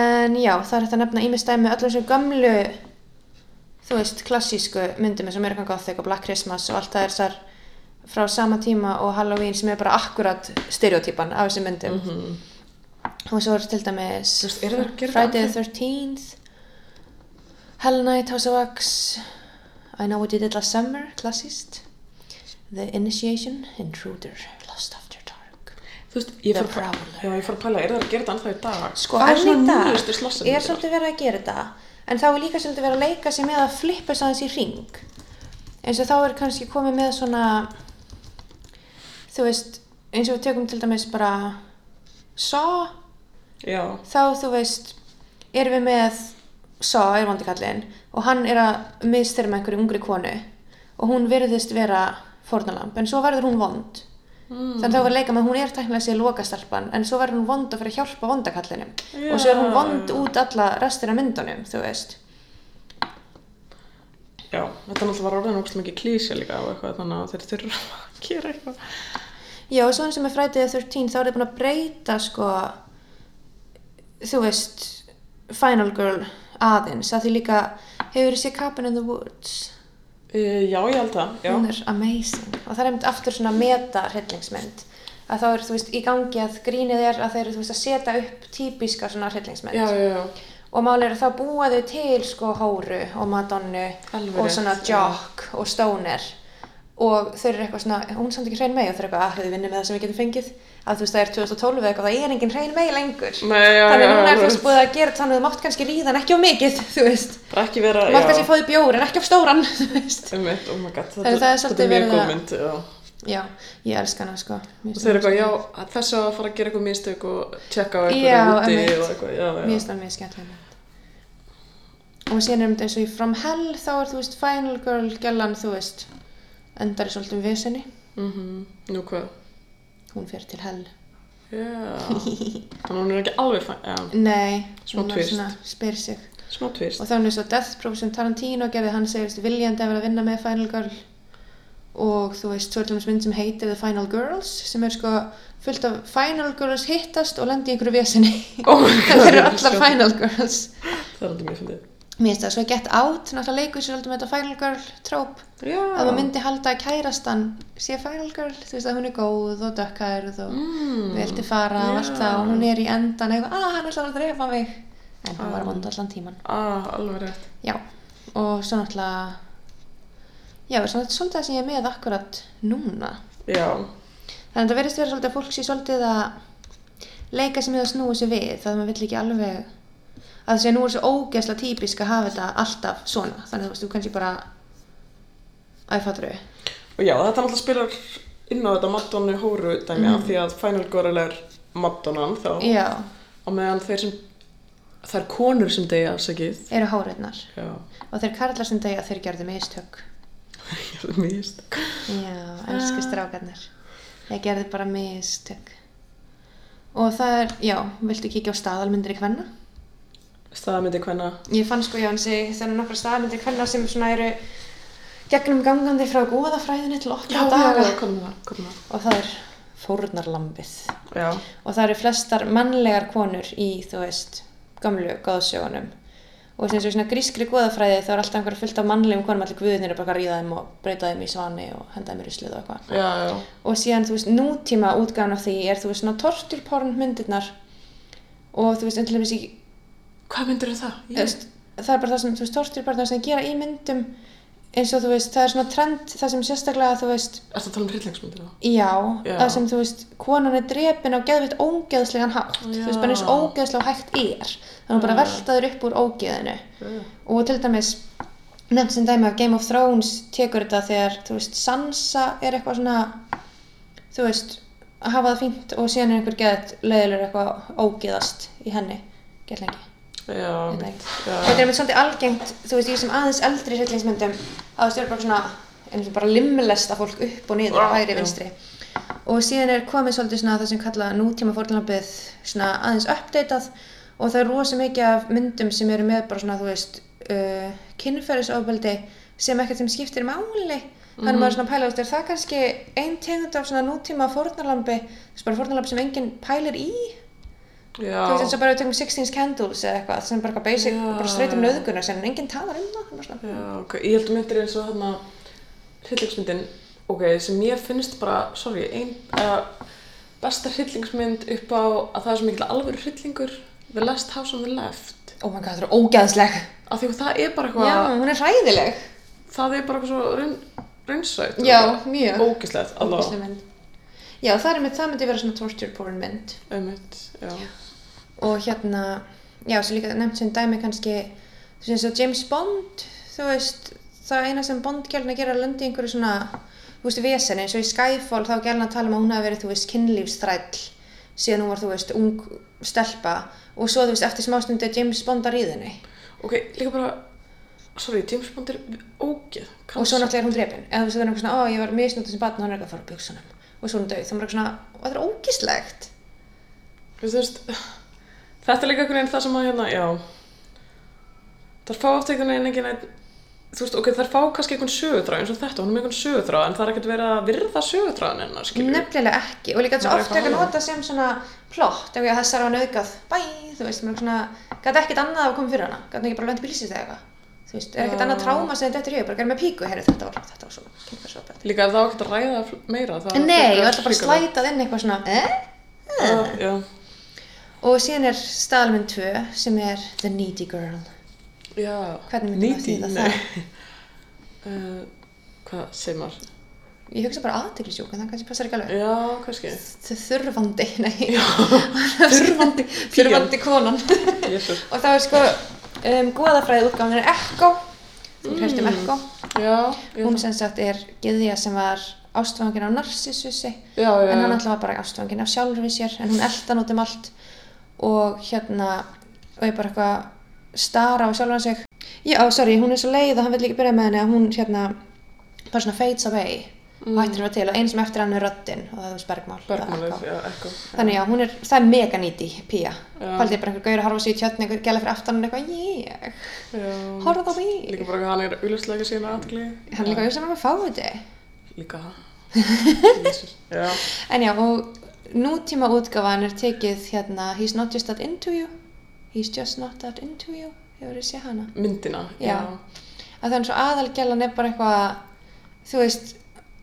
[SPEAKER 2] En já, það er hægt að nefna ímestæmi með öllum sem gömlu, þú veist, klassísku myndum eins og Amerikan Gothic og Black Christmas og allt það er þessar frá sama tíma og Halloween sem er bara akkurat stereotypan af þessum myndum. Og svo er til dæmis
[SPEAKER 1] Mhm. veist, eru þær- gera
[SPEAKER 2] Friday
[SPEAKER 1] þetta
[SPEAKER 2] the 13th, Hell Night, House of Wax, I Know What You Did Last Summer, klassíst, The Initiation, Intruder, Lost After Dark.
[SPEAKER 1] Þú veist, ég
[SPEAKER 2] The
[SPEAKER 1] fór að pæla,
[SPEAKER 2] Prowler.
[SPEAKER 1] já, ég fór að pæla, er það að gera þetta ennþá í dag?
[SPEAKER 2] Sko,
[SPEAKER 1] Hvað er
[SPEAKER 2] enn í
[SPEAKER 1] svona
[SPEAKER 2] dag
[SPEAKER 1] nýjustu slassamyndir?
[SPEAKER 2] er svolítið verið að gera þetta, en þá er líka svolítið verið að leika sér með að flippa þess aðeins í ring. Eins og þá er kannski komið með svona, þú veist, eins og við tökum til dæmis bara Saw,
[SPEAKER 1] Já,
[SPEAKER 2] þá þú veist, erum við með Saw, er vondi kallinn, og hann er að mistyrir með einhverju ungri konu og hún virðist vera fórnalamb, en svo verður hún vond.
[SPEAKER 1] Mm.
[SPEAKER 2] Þannig þá var leika með að hún er tæknilega sér lokastarpan en svo verður hún vond að fyrir að hjálpa vondakallinum og svo er hún
[SPEAKER 1] Já.
[SPEAKER 2] vond út alla restina af myndunum, þú veist.
[SPEAKER 1] já, þetta náttúrulega var orðin ógst mikið klísja líka og eitthvað, þannig að þeir þurfa að gera eitthvað.
[SPEAKER 2] Já, og svo eins og með Friday the 13 þá er það búin að breyta sko, þú veist, Final Girl aðeins, að því líka hefur þið séð Cabin in the Woods,
[SPEAKER 1] E, já, ég held það, já.
[SPEAKER 2] hún er amazing og það er einmitt aftur svona meta hryllingsmynd að þá er, þú veist, í gangi að grínið er að þeir eru, þú veist, að setja upp típiska svona hryllingsmynd.
[SPEAKER 1] Já, já, já,
[SPEAKER 2] og málið er að þá búa þau til sko hóru og madonnu
[SPEAKER 1] Alveg
[SPEAKER 2] og
[SPEAKER 1] rétt,
[SPEAKER 2] svona
[SPEAKER 1] já.
[SPEAKER 2] jock og stoner og þau eru eitthvað svona, hún er samt ekki hrein mei og þau eru eitthvað að þau vinnum með það sem við getum fengið að þú veist það er 2012 eða eitthvað, það er engin hrein mei lengur
[SPEAKER 1] Nei, já,
[SPEAKER 2] þannig að
[SPEAKER 1] já,
[SPEAKER 2] núna
[SPEAKER 1] já,
[SPEAKER 2] er
[SPEAKER 1] já.
[SPEAKER 2] fyrst búið að gera þannig að þú mátt kannski ríðan ekki of mikið, þú veist
[SPEAKER 1] bara ekki vera,
[SPEAKER 2] þú mátt kannski fóði bjór en ekki of stóran, þú veist
[SPEAKER 1] Um mitt, oh my god,
[SPEAKER 2] Þannig
[SPEAKER 1] þetta,
[SPEAKER 2] það er
[SPEAKER 1] þetta
[SPEAKER 2] svolítið
[SPEAKER 1] er mjög
[SPEAKER 2] verið
[SPEAKER 1] góð
[SPEAKER 2] að-
[SPEAKER 1] mynd, já.
[SPEAKER 2] já, ég elska hana sko Mér
[SPEAKER 1] Og
[SPEAKER 2] finnst
[SPEAKER 1] þeir
[SPEAKER 2] hún-
[SPEAKER 1] eru eitthvað, já, að þessi á að fara að gera eitthvað mistök og tjekka á
[SPEAKER 2] Já,
[SPEAKER 1] eitthvað úti
[SPEAKER 2] einmitt.
[SPEAKER 1] og eitthvað, já,
[SPEAKER 2] Mér
[SPEAKER 1] já.
[SPEAKER 2] finnst það mjög skemmtilega mynd. Og síðan er þetta eins og í From Hell þá er, þú veist, Final Girl, Gellan, þú veist, endar í svolítið vissinni.
[SPEAKER 1] Mhm, Nú hvað?
[SPEAKER 2] Hún fer til Hell.
[SPEAKER 1] Já. Þannig að hún er ekki alveg fæn, já,
[SPEAKER 2] Nei,
[SPEAKER 1] Smá
[SPEAKER 2] hún er
[SPEAKER 1] twist.
[SPEAKER 2] svona, spyr sig.
[SPEAKER 1] smá tvist.
[SPEAKER 2] Og þá er hún svo Death Proof sem Tarantino gerði, hann segist viljandi að vera að vinna með Final Girl. Og þú veist, svo er svolítið mynd sem heitir The Final Girls, sem er sko fullt af Final Girls hittast og lendi í einhverju vissinni.
[SPEAKER 1] Oh my god,
[SPEAKER 2] það eru
[SPEAKER 1] ég
[SPEAKER 2] allar
[SPEAKER 1] sjá-
[SPEAKER 2] Final Girls.
[SPEAKER 1] Það er aldrei mjög fyndið.
[SPEAKER 2] Mér finnst það svo Get Out, náttúrulega leikur sér svolítið með þetta Final Girl tróp.
[SPEAKER 1] Já.
[SPEAKER 2] að maður myndi halda að kærastan sé final girl, þú veist að hún er góð og dökkærð og
[SPEAKER 1] Mm.
[SPEAKER 2] vildi fara og allt
[SPEAKER 1] Já.
[SPEAKER 2] það og hún er í endan eitthvað, að hann ætlar að drefa mig en hún var vond allan tíman
[SPEAKER 1] Ah, alveg rétt.
[SPEAKER 2] já, og svo náttúrulega já, er svona svolítið það sem ég er með akkurat núna
[SPEAKER 1] Já,
[SPEAKER 2] þannig að það verðist vera svolítið að fólk sé svolítið að leika sem hefur snúið sér við það maður vill ekki alveg að þess að nú er svo ógeðsla típisk að hafa þetta alltaf svona þannig að þú veist, þú kannski bara að ég fattur þau
[SPEAKER 1] Og já, þetta náttúrulega spilar inn á þetta Madonna hóru dæmi af því að Final Girl er Madonnan þá
[SPEAKER 2] Mhm. já,
[SPEAKER 1] og meðan þeir sem þær konur sem deyja afsakið
[SPEAKER 2] eru háreitnar
[SPEAKER 1] já,
[SPEAKER 2] og þeir karlar sem degja þeir gerðu mistök
[SPEAKER 1] ég er mist
[SPEAKER 2] já, elsku strákarnir þeir gerðu bara mistök og það er, já, viltu kíkja á staðalmyndir í kvenna?
[SPEAKER 1] staðmyndi hvenna
[SPEAKER 2] Ég fann sko, já, hann segi þannig nokkra staðmyndir hvernig sem svona eru gegnum gangandi frá góðafræðinni til okkar daga
[SPEAKER 1] komum það, komum það
[SPEAKER 2] og það er fórnarlambið
[SPEAKER 1] já,
[SPEAKER 2] og það eru flestar mannlegar konur í, þú veist, gamlu góðsögunum og eins og í svona grískri góðafræði þá er alltaf einhver fullt af mannlegum konum allir guðinir er bara að ríða þeim og breyta þeim í svani og henda þeim í ruslið og eitthvað
[SPEAKER 1] já, já,
[SPEAKER 2] og síðan þú veist nútíma útgáðan af því er þú veist svona torturporn myndirnar og þú veist endilega í
[SPEAKER 1] hvað myndir um það?
[SPEAKER 2] Þú veist, það er bara það sem, þú veist, tortur bara það sem þeir gera í myndum eins og þú veist, það er svona trend það sem sérstaklega, þú veist,
[SPEAKER 1] Ertu að tala um hryllingsmyndir þá?
[SPEAKER 2] já,
[SPEAKER 1] Já.
[SPEAKER 2] það sem þú veist, konan er drepin á geðvitt ógeðslegan hátt, þú veist, bara eins
[SPEAKER 1] Já.
[SPEAKER 2] ógeðslega og hægt er, þannig að bara veltaður upp úr ógeðinu
[SPEAKER 1] Já.
[SPEAKER 2] og til dæmis, nefnt sem dæmi af Game of Thrones tekur þetta þegar, þú veist, Sansa er eitthvað svona, þú veist, að hafa það fínt og síðan er einhver geðt leiðilegur eitthvað ógeðast í henni, gett lengi
[SPEAKER 1] Já,
[SPEAKER 2] veit það
[SPEAKER 1] mitt,
[SPEAKER 2] ekki. þetta er
[SPEAKER 1] já,
[SPEAKER 2] einmitt svolítið algengt þú veist, ég sem aðeins eldri hryllingsmyndum að það stjórn bara svona einhvern veginn bara limlesta fólk upp og niður
[SPEAKER 1] Já,
[SPEAKER 2] og hægri
[SPEAKER 1] já.
[SPEAKER 2] vinstri og síðan er komið svolítið svona það sem kalla nútíma fórnlampið svona aðeins uppdatað og það er rosa mikið af myndum sem eru með bara svona þú veist uh, kynferðisofbeldi sem ekkert sem skiptir máli þannig maður er svona að pæla, þú veist, er það kannski ein tegund af svona nútíma fórnarlambi þú veist bara fórnarlambi sem enginn pælir í
[SPEAKER 1] já.
[SPEAKER 2] þú veist eins og bara við tökum 16 Candles eða eitthvað sem er bara eitthvað basic,
[SPEAKER 1] Já,
[SPEAKER 2] bara streytum
[SPEAKER 1] já.
[SPEAKER 2] nöðgunar sem enginn talar um það bara svona.
[SPEAKER 1] Já, ok, ég held að myndir eins og þarna hryllingsmyndin, ok, sem mér finnst bara, sorry, ein uh, besta hryllingsmynd upp á að það er svo mikil alvöru hryllingur The Last House on the Left
[SPEAKER 2] oh my god, það er ógæðsleg
[SPEAKER 1] af því að það er bara
[SPEAKER 2] já,
[SPEAKER 1] eitthvað,
[SPEAKER 2] hún er hræðileg
[SPEAKER 1] það er bara eitthvað svo raun, raunsætt
[SPEAKER 2] Já, mjög.
[SPEAKER 1] Ógislegt, alveg,
[SPEAKER 2] Ógeðsleg mynd. já, það, er, einmitt- það myndi vera svona torture porn mynd
[SPEAKER 1] einmitt, já
[SPEAKER 2] og hérna, já, svo líka nefnt sem dæmi kannski, þú veist eins og James Bond þú veist, það eina sem Bond gælna gera er að lenda í einhverju svona þú veist, vesen, eins og í Skyfall þá gælna að tala um að hún hafi verið, þú veist, kynlífsþræll síðan hún var, þú veist, ung stelpa og svo, þú veist, eftir smástundu James Bond að ríðinni
[SPEAKER 1] Ok, líka bara, sorry, James Bond er ógið
[SPEAKER 2] og svo náttúrulega er hún drefin eða þú veist það er eitthvað svona, ó ég var misnútið sem batn og hann er eitthvað að fara á buksunum og svo er hún döið, þá er maður eitthvað svona, "Ó, þetta er ógíslegt
[SPEAKER 1] Þú veist, þetta er líka einhvern veginn það sem að hérna, já, þar fá oft einhvern veginn enginn einn, þú veist, ok, þar fá kannski einhvern sögutráð eins og þetta, hún er með einhvern sögutráð, en það er ekkert verið að virða sögutráðan hennar, skiljum.
[SPEAKER 2] nefnilega ekki og líka svo
[SPEAKER 1] Maður er
[SPEAKER 2] oft
[SPEAKER 1] eitthvað
[SPEAKER 2] ekki
[SPEAKER 1] annað.
[SPEAKER 2] nota sem svona plott ef ég þessar var nöðgat, bæ, þú veist maður er svona, gæti ekkert annað að koma fyrir hana gæti ekki bara lent bílsins eða eitthvað þú veist, er ekkert
[SPEAKER 1] Já.
[SPEAKER 2] annað tráma sem þetta er ég, bara gerði með píku herri, þetta var, þetta var svona, þetta var svona
[SPEAKER 1] Líka ef það á ekkert að ræða fl- meira, það
[SPEAKER 2] Nei, ég var alltaf bara slætað inn eitthvað svona, eh?
[SPEAKER 1] slæta. Já,
[SPEAKER 2] Og síðan er staðalmynd 2 sem er The Needy Girl.
[SPEAKER 1] já.
[SPEAKER 2] Hvernig myndi maður þýða það?
[SPEAKER 1] Uh, hvað segir maður?
[SPEAKER 2] Ég hugsa bara aðteglisjúk, en það kannski passar ekki alveg.
[SPEAKER 1] Já, kannski.
[SPEAKER 2] Þ- þurfandi, nei þurfandi, þurfandi konan og
[SPEAKER 1] Jésus.
[SPEAKER 2] það er sko um, góðafræði útgáðan er Ekko þú mm. hreist um Ekko
[SPEAKER 1] Já, já.
[SPEAKER 2] hún sem sagt er gyðja sem var ástfangin á narsissussi
[SPEAKER 1] Já, já,
[SPEAKER 2] en hann
[SPEAKER 1] já.
[SPEAKER 2] alltaf var bara ástfangin af sjálfri sér en hún eldan út um allt og hérna og ég bara eitthvað stara á sjálfan sig já, sorry, hún er svo leið og hann vil líka byrja með henni að hún hérna bara svona fades away og hættir að vera til og einn sem eftir hann er röddin og það er þú veist bergmál eða Echo.
[SPEAKER 1] Bergmálið, Mm. já, ekko.
[SPEAKER 2] Þannig já, hún er, það er mega nýti pía.
[SPEAKER 1] Já.
[SPEAKER 2] Paldið bara einhver gaur að harfa sér í tjötni, einhver gæla fyrir aftan hann eitthvað, ég,
[SPEAKER 1] Já.
[SPEAKER 2] horfa á mig.
[SPEAKER 1] Líka bara hvað hann er auðvitað ekki síðan aðtli.
[SPEAKER 2] Hann er líka um auðvitað með fáiði.
[SPEAKER 1] Líka það. Jesus. Já.
[SPEAKER 2] En já, og nútíma útgáfan er tekið hérna, he's not just that into you, he's just not that into you, hefur þið séð hana.
[SPEAKER 1] Myndina.
[SPEAKER 2] Já. Að það er eins og aðalgælan er bara eitthvað, þú veist,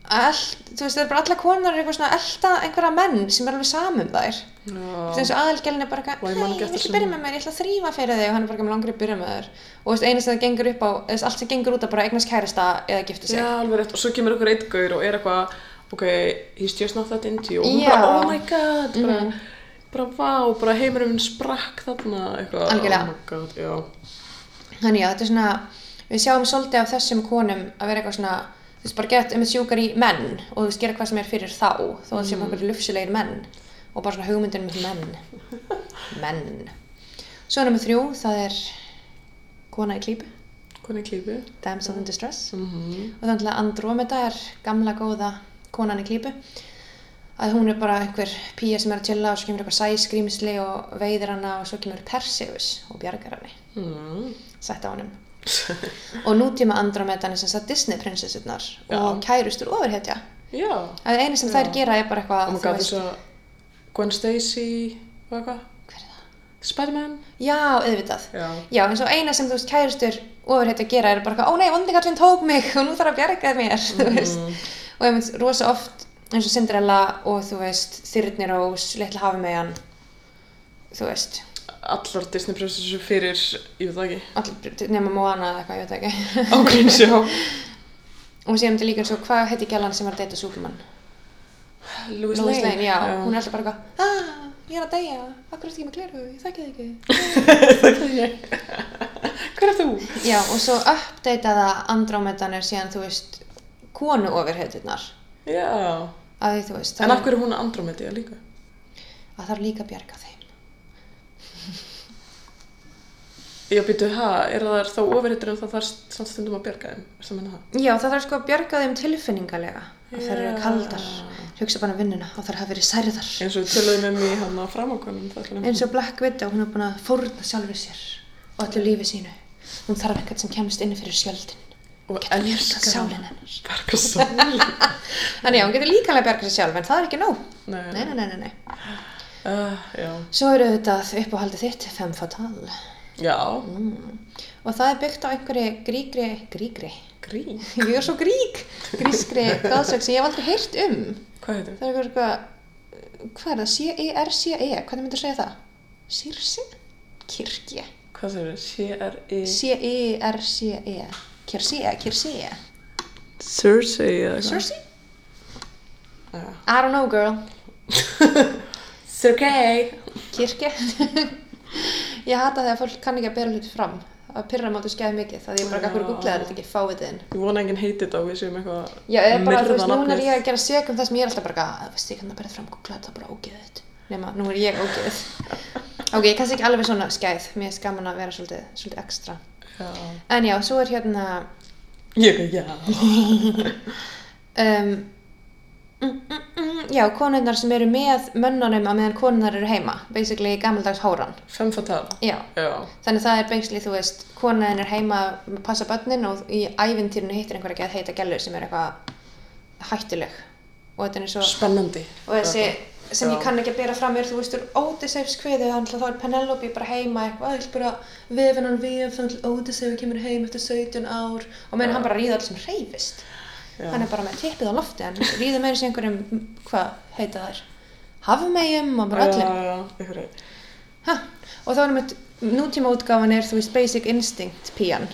[SPEAKER 2] all, þú veist, það er bara alla konar eru eitthvað svona að elta einhverja menn sem er alveg samum þær.
[SPEAKER 1] Já.
[SPEAKER 2] þess að aðalgjálin er bara eitthvað,
[SPEAKER 1] Og ég man
[SPEAKER 2] hei,
[SPEAKER 1] ekki eftir
[SPEAKER 2] viltu
[SPEAKER 1] þessu.
[SPEAKER 2] byrja með mér, ég ætla að þrýfa fyrir þig og hann er bara eitthvað langri að byrja með þér og þess eina sem það gengur upp á, þess allt sem gengur út að bara eignast kærista eða gifta sig
[SPEAKER 1] Já, alveg rétt. Og svo kemur okkur einn gaur og er eitthvað, ok, he's just not that into you. Og hún
[SPEAKER 2] Já. Mhm.
[SPEAKER 1] bara, oh my god, bara, bara vá, bara heimurinn sprakk þarna eitthvað
[SPEAKER 2] Algjörlega.
[SPEAKER 1] oh my God, já,
[SPEAKER 2] Þannig já, þetta er svona, við sjáum svolítið af þessum konum að vera eitthvað svona, þú veist, bara gett um að sjúkar í menn og þú veist, gera hvað sem er fyrir þá, þó að séum okkur lufsulegir menn og bara svona hugmyndir um menn. Menn. Svo nummer þrjú, það er kona í klípu,
[SPEAKER 1] hvernig klípi
[SPEAKER 2] damsel in distress.
[SPEAKER 1] mm -hmm.
[SPEAKER 2] Og þannig að Andrómeda er gamla góða konan í klípu, að hún er bara einhver pía sem er að chilla og svo kemur eitthvað sæskrýmsli og veiðir hana og svo kemur Perseus og bjargar henni Mhm.
[SPEAKER 1] Mm.
[SPEAKER 2] sett á honum og nútíma Andromedan er sem sagt Disney prinsessurnar
[SPEAKER 1] Já.
[SPEAKER 2] og kærustur ofurhetja
[SPEAKER 1] já,
[SPEAKER 2] það einu sem þær gera er bara
[SPEAKER 1] og
[SPEAKER 2] eitthvað
[SPEAKER 1] maður
[SPEAKER 2] Oh þú
[SPEAKER 1] gaf þess að Gwen Stacy og eitthvað
[SPEAKER 2] hver er það?
[SPEAKER 1] Spiderman
[SPEAKER 2] já, auðvitað
[SPEAKER 1] já,
[SPEAKER 2] já, eins og eina sem þú veist kærustur ofurhetja gera er bara eitthvað, ó nei, vondingallinn tók mig og nú þarf að bjarga mér
[SPEAKER 1] Mhm.
[SPEAKER 2] þú veist og einmitt rosa oft eins og Cinderella og þú veist Þyrnirós, Little Hafumeyan þú veist
[SPEAKER 1] allar Disney prinsessu fyrir ég veit það ekki,
[SPEAKER 2] allir nema Moana eða eitthvað, ég veit það ekki
[SPEAKER 1] ágríns já
[SPEAKER 2] og séum þetta líka eins og hvað heiti gælan sem var að deyta Superman
[SPEAKER 1] Louis
[SPEAKER 2] Louis Lane, já, hún er
[SPEAKER 1] já.
[SPEAKER 2] alltaf bara eitthvað aaa, ég er að deyja, akkur er þetta ekki með gleru, ég þekki það ekki
[SPEAKER 1] hver er þú?
[SPEAKER 2] já, og svo uppdeitaða Andrómedan er síðan, þú veist konu ofir heitirnar
[SPEAKER 1] já,
[SPEAKER 2] að því, þú veist,
[SPEAKER 1] en af
[SPEAKER 2] það,
[SPEAKER 1] hverju er hún Andromedia líka?
[SPEAKER 2] að það er líka að bjarga þeim
[SPEAKER 1] Já, býtu, ha, er það þá ofurhittur en það þarf samt stundum að bjarga þeim? Er það meina það?
[SPEAKER 2] já, það þarf sko að bjarga þeim tilfinningalega að þær eru
[SPEAKER 1] Já.
[SPEAKER 2] kaldar, hugsa bara um vinnuna og þær hafa verið særðar
[SPEAKER 1] Eins og við töluðum um í hann að framákonum þar.
[SPEAKER 2] eins og Black Widow, hún er búin að fórna sjálfur sér og allir lífi sínu hún þarf eitthvað sem kemst inn fyrir sjöldin
[SPEAKER 1] Og
[SPEAKER 2] getur bjargað
[SPEAKER 1] elskar
[SPEAKER 2] sálina
[SPEAKER 1] hana.
[SPEAKER 2] hennar.
[SPEAKER 1] Bjarga sálina.
[SPEAKER 2] þannig já, hún getur líka að bjarga sér sjálf en það er ekki nóg
[SPEAKER 1] Nei,
[SPEAKER 2] nei, nei, nei, nei, nei.
[SPEAKER 1] Uh, já.
[SPEAKER 2] Svo eru auðvitað uppáhaldið þitt femme fatale
[SPEAKER 1] Já,
[SPEAKER 2] Mm. og það er byggt á einhverju gríkri, gríkri,
[SPEAKER 1] grín.
[SPEAKER 2] ég er svo grík, grískri góðsögn sem ég hef aldrei heyrt um.
[SPEAKER 1] Hvað heitir það?
[SPEAKER 2] Það er einhver eitthvað, hvað er það, E C-E-R-C-E, hvernig myndir segja það? Sirsi? Kirkje. E
[SPEAKER 1] Hvað þeir eru? C-R-I...
[SPEAKER 2] Mm. C-E-R-C-E, Kirsie, Kirsie,
[SPEAKER 1] Cersei eða eitthvað.
[SPEAKER 2] Circe?
[SPEAKER 1] Já.
[SPEAKER 2] I don't know girl,
[SPEAKER 1] Cersei!
[SPEAKER 2] kirkje. ég hata þegar fólk kann ekki að bera hluti fram, það pyrra máttu skæði mikið, það ég bara
[SPEAKER 1] Já.
[SPEAKER 2] ekki að googlaði þetta ekki, fáið þinn.
[SPEAKER 1] Ég vona enginn heitir þetta og við séum eitthvað...
[SPEAKER 2] Já, eða bara, þú veist,
[SPEAKER 1] myrða
[SPEAKER 2] núna er ég
[SPEAKER 1] nafnið.
[SPEAKER 2] að gera seg um það sem ég er alltaf bara eitthvað, að, veist, ég kannan bara fram googlaði þetta bara ógeðið nema, nú er ég ógeðið ok, ég er kannski ekki alveg svona skæð mér er skaman að vera svolítið, svolítið ekstra
[SPEAKER 1] Já.
[SPEAKER 2] en já, svo er hérna
[SPEAKER 1] Ég, já.
[SPEAKER 2] um, mm, mm, mm, já, konunnar sem eru með mönnunum á meðan konunnar eru heima basically gammaldags hóran
[SPEAKER 1] Femme fatale.
[SPEAKER 2] já,
[SPEAKER 1] Já.
[SPEAKER 2] þannig það er basically, þú veist konan er heima, að passa börnin og í ævintýrinu hittir einhverja að heita gælur sem er eitthvað hættuleg og þetta er svo
[SPEAKER 1] Spennandi.
[SPEAKER 2] og þessi sem ég
[SPEAKER 1] Já.
[SPEAKER 2] kann ekki að bera fram er þú veist úr Odysseifs kviðu þannig að þá er Penelope bara heima eitthvað ég ætla bara að vefa hann vef þannig að Odysseif kemur heim eftir 17 ár og meðan hann bara ríða alls sem reyfist
[SPEAKER 1] Já.
[SPEAKER 2] hann er bara með tippið á lofti hann ríða meira sem einhverjum, hvað heita þær hafmegjum og bara öllum
[SPEAKER 1] Já, já, einhverju.
[SPEAKER 2] Ha, og þá er einmitt, nútíma útgáfan er, þú veist, Basic Instinct pían.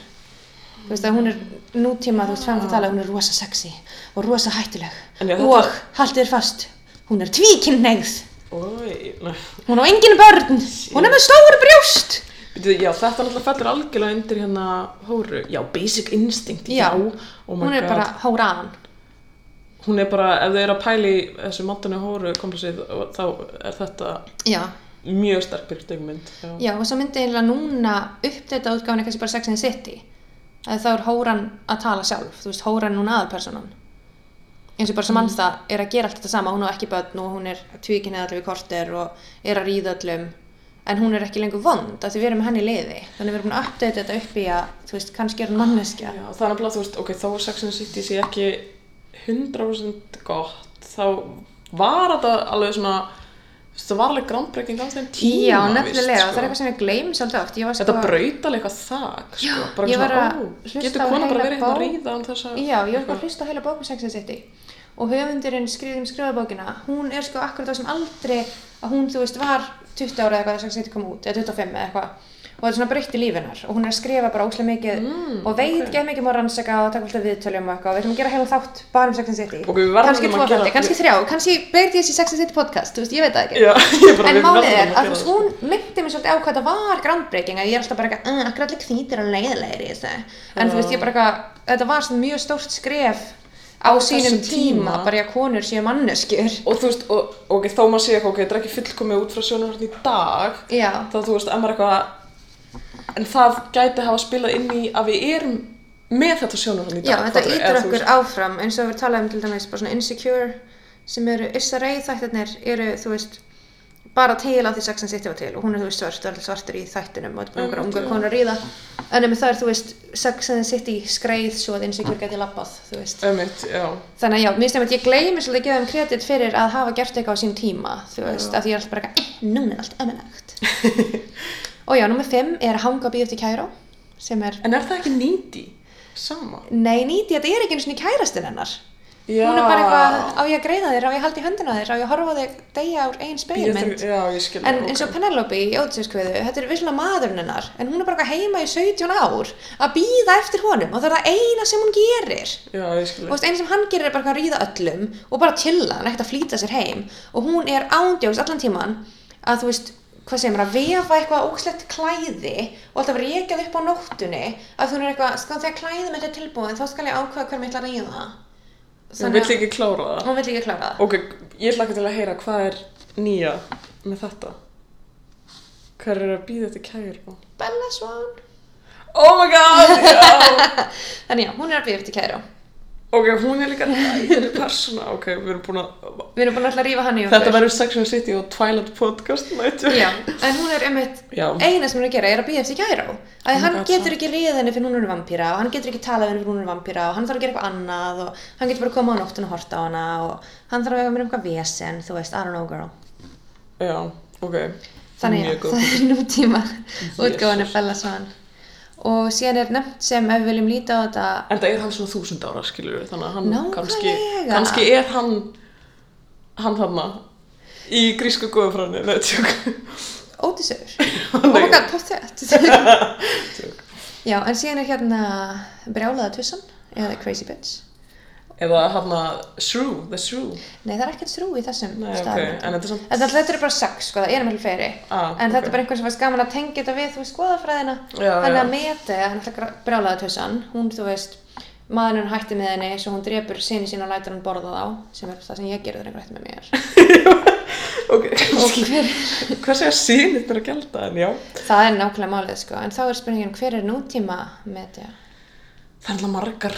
[SPEAKER 2] Þú veist að hún er nútíma, þú veist, fæmum að tala, hún er rosa sexy og rosa hættuleg.
[SPEAKER 1] En já,
[SPEAKER 2] og,
[SPEAKER 1] þetta-
[SPEAKER 2] haldið þér fast, hún er tvíkinnegð,
[SPEAKER 1] Ói, nei.
[SPEAKER 2] hún á engin börn, hún er með stór brjóst.
[SPEAKER 1] Býtu, já, þetta náttúrulega fellur algjörlega undir hérna hóru. Já, basic instinct, já. Oh my
[SPEAKER 2] hún er
[SPEAKER 1] God.
[SPEAKER 2] bara hóraðan.
[SPEAKER 1] Hún er bara, ef þau eru að pæli þessu matinu hóru komplexið, þá er þetta
[SPEAKER 2] Já,
[SPEAKER 1] mjög sterk byrkdegmynd. Já.
[SPEAKER 2] já, og svo myndi eiginlega núna uppdata útgáfan er kannski bara Sex and the City. Að þá er hóran að tala sjálf, þú veist, hóran er núna aðalpersonan. eins og bara sem manns það er að gera allt þetta sama hún á ekki börn og hún er tvíkinni allir við korter og er að ríða allum en hún er ekki lengur vond að því við erum með henni í liði þannig við erum búin að uppdata þetta upp í að þú veist, kannski er hún manneskja
[SPEAKER 1] Já, það er nefnilega, þú veist, ok, þó er Sex and the City sé ekki 100% gott, þá var þetta alveg svona, þú veist, það var alveg groundbreaking á þeim tíma,
[SPEAKER 2] Já, nefnilega,
[SPEAKER 1] víst, sko.
[SPEAKER 2] það er eitthvað sem ég gleym svolítið oft Ég var sko,
[SPEAKER 1] Þetta braut alveg eitthvað þak, sko,
[SPEAKER 2] Já,
[SPEAKER 1] bara
[SPEAKER 2] ég var
[SPEAKER 1] svona,
[SPEAKER 2] að
[SPEAKER 1] ó,
[SPEAKER 2] hlusta
[SPEAKER 1] getur
[SPEAKER 2] á
[SPEAKER 1] kona
[SPEAKER 2] heila
[SPEAKER 1] bara verið hérna að
[SPEAKER 2] bók.
[SPEAKER 1] ríða án þess að...
[SPEAKER 2] Já, ég var bara að hlusta á heila bókum sexið sitt og höfundurinn skriðum skrifabókina hún er sko akkurat á sem aldrei að hún, þú veist, var 20 ára eða eitthvað þegar sexið sitt kom út eða 25 eða eitthvað og þetta er svona breytti lífinar og hún er að skrifa bara óslega mikið
[SPEAKER 1] Mm,
[SPEAKER 2] og veit okay. ekki mikið um að rannsaka og taka alltaf viðtölum og eitthvað og við ætlum að gera heila þátt bara um Sex and City
[SPEAKER 1] Ok, við verðum
[SPEAKER 2] kannski
[SPEAKER 1] að
[SPEAKER 2] tvo
[SPEAKER 1] gera-
[SPEAKER 2] þátti, kannski þrjá, kannski breytti þessi Sex and City podcast, þú veist, ég veit það ekki
[SPEAKER 1] Já, ég bara
[SPEAKER 2] en
[SPEAKER 1] við
[SPEAKER 2] málið
[SPEAKER 1] verðum
[SPEAKER 2] er
[SPEAKER 1] að
[SPEAKER 2] að sko. þú veist,
[SPEAKER 1] gera það. sko.
[SPEAKER 2] hún myndi mér svolítið á hvað þetta var groundbreaking að ég er alltaf bara eitthvað, uh, akkur allir hvítir og leiðilegir í þessu en þú veist, ég bara eitthvað, þetta var svona mjög stórt skref á sínum
[SPEAKER 1] þessum tíma.
[SPEAKER 2] tíma, bara ég að konur séu manneskjur
[SPEAKER 1] og þú veist, og, ok, þá maður sé eitthvað, ok, þetta er ekki fullkomið út frá sjónarhörn í dag
[SPEAKER 2] Já.
[SPEAKER 1] þá þú veist, en maður eitthvað en það gæti hafa spilað inn í að við erum með þetta sjónarhörn í dag
[SPEAKER 2] Já, þetta
[SPEAKER 1] fattarðu?
[SPEAKER 2] ítur
[SPEAKER 1] Eða þú
[SPEAKER 2] okkur
[SPEAKER 1] veist-
[SPEAKER 2] áfram eins og við talaðum til dæmis bara svona insecure sem eru Issa Rae þættirnir eru, þú veist, bara til á því Sex and City var til og hún er, þú veist, svört og allir svartir í þættinum og þetta er bara einhverja
[SPEAKER 1] Einmitt,
[SPEAKER 2] ungar
[SPEAKER 1] já.
[SPEAKER 2] konur að ríða en ef það er, þú veist, Sex and City skreið svo að insecure geti labbað, þú veist
[SPEAKER 1] Einmitt, já,
[SPEAKER 2] Þannig að já, mér stefnir að ég gleymi svolítið að gefa þeim kredit fyrir að hafa gert eitthvað á sín tíma, þú veist, að því ég er alltaf bara eitthvað, eh, núna er allt ömulegt. og já, nummer 5 er að hanga á bíótt í Kæró, sem er,
[SPEAKER 1] en er það ekki nýti? Sama
[SPEAKER 2] nei, nýti, þetta er ekki einu sinni kærastinn hennar.
[SPEAKER 1] Já,
[SPEAKER 2] Hún er bara eitthvað, á ég að greiða þér, á ég að halda í höndina á þér, á ég að horfa á þig degja úr einn speilmynd.
[SPEAKER 1] Já, ég skil
[SPEAKER 2] En eins og Penelope í Ótsjöskviðu, þetta er vissulega maðurinn hennar, en hún er bara eitthvað heima í 17 ár að býða eftir honum og það er það eina sem hún gerir.
[SPEAKER 1] Já, ég
[SPEAKER 2] Og
[SPEAKER 1] skil
[SPEAKER 2] þú veist, eina sem hann gerir er bara eitthvað að ríða öllum og bara chilla, hann er ekkert að flýta sér heim og hún er ándjóks allan tíman að þú veist, hvað segir maður, að vefa eitthvað ógslegt klæði og alltaf reykjað upp á nóttunni að hún er eitthvað, sko þegar klæði mitt er tilbúin þá skal ég ákvaða hver mitt að ríða
[SPEAKER 1] Hún vill ekki klára það
[SPEAKER 2] hún vill ekki klára það
[SPEAKER 1] Ok, ég hlakka til að heyra hvað er nýja með þetta Hver er að býða þetta kæru?
[SPEAKER 2] Bella Swan
[SPEAKER 1] Oh my god, já
[SPEAKER 2] Þannig já, hún er að býða eftir kæru
[SPEAKER 1] Ok, hún er líka ræðileg persóna Ok, við erum búin að
[SPEAKER 2] Við erum búin að ætla að rífa hann í okkur
[SPEAKER 1] Þetta verður Sex and the City og Twilight podcast nættu
[SPEAKER 2] Já, en hún er einmitt
[SPEAKER 1] Já. Oh
[SPEAKER 2] eina sem hún er að gera er að býða eftir Gjæró að
[SPEAKER 1] my
[SPEAKER 2] hann
[SPEAKER 1] God,
[SPEAKER 2] getur ekki ríða henni fyrir hún er vampíra og hann getur ekki talað við henni fyrir hún er vampíra og hann þarf að gera eitthvað annað og hann getur bara að koma á nóttun og horta á hana og hann þarf að vera með eitthvað vesen þú veist, I don't know girl
[SPEAKER 1] Já, ok
[SPEAKER 2] þannig já,
[SPEAKER 1] Mjög góð
[SPEAKER 2] það er nútíma útgáðan er Bella Swan og síðan er nefnt sem ef við viljum líta á þetta
[SPEAKER 1] En það er hann svona þúsund ára, skilur við Þannig að hann
[SPEAKER 2] Nákvæmlega.
[SPEAKER 1] kannski Kannski er hann Hann þarna Í grísku guðfræðinni, Nei, tjók
[SPEAKER 2] ódísögur oh my god, pop that já, en síðan er hérna brjálaða tussan eða crazy bitch
[SPEAKER 1] Eða hann að Shrew, the Shrew
[SPEAKER 2] Nei, það er ekkert þrjú í þessum
[SPEAKER 1] Nei, ok,
[SPEAKER 2] staðalmyndum.
[SPEAKER 1] en þetta er samt-
[SPEAKER 2] En þetta eru bara sex, sko, það er meðal fleiri.
[SPEAKER 1] Ah,
[SPEAKER 2] en þetta
[SPEAKER 1] ok.
[SPEAKER 2] er bara einhver sem fannst gaman að tengja þetta við, þú veist, skoðafræðina.
[SPEAKER 1] Já,
[SPEAKER 2] Þannig
[SPEAKER 1] já.
[SPEAKER 2] að meti, hann ætla brjálaða tussan, hún, þú veist, maðurinn hennar hætti með henni, svo hún drepur sinni sín og lætur hann borða þá, sem er það sem ég gerði þegar einhver hætti með mér.
[SPEAKER 1] Ok,
[SPEAKER 2] og hver,
[SPEAKER 1] hvað segja sínir þetta að gælda en já
[SPEAKER 2] það er nákvæmlega málið, sko, en þá er spurningin, hver er nútíma meti?
[SPEAKER 1] Það er alltaf margar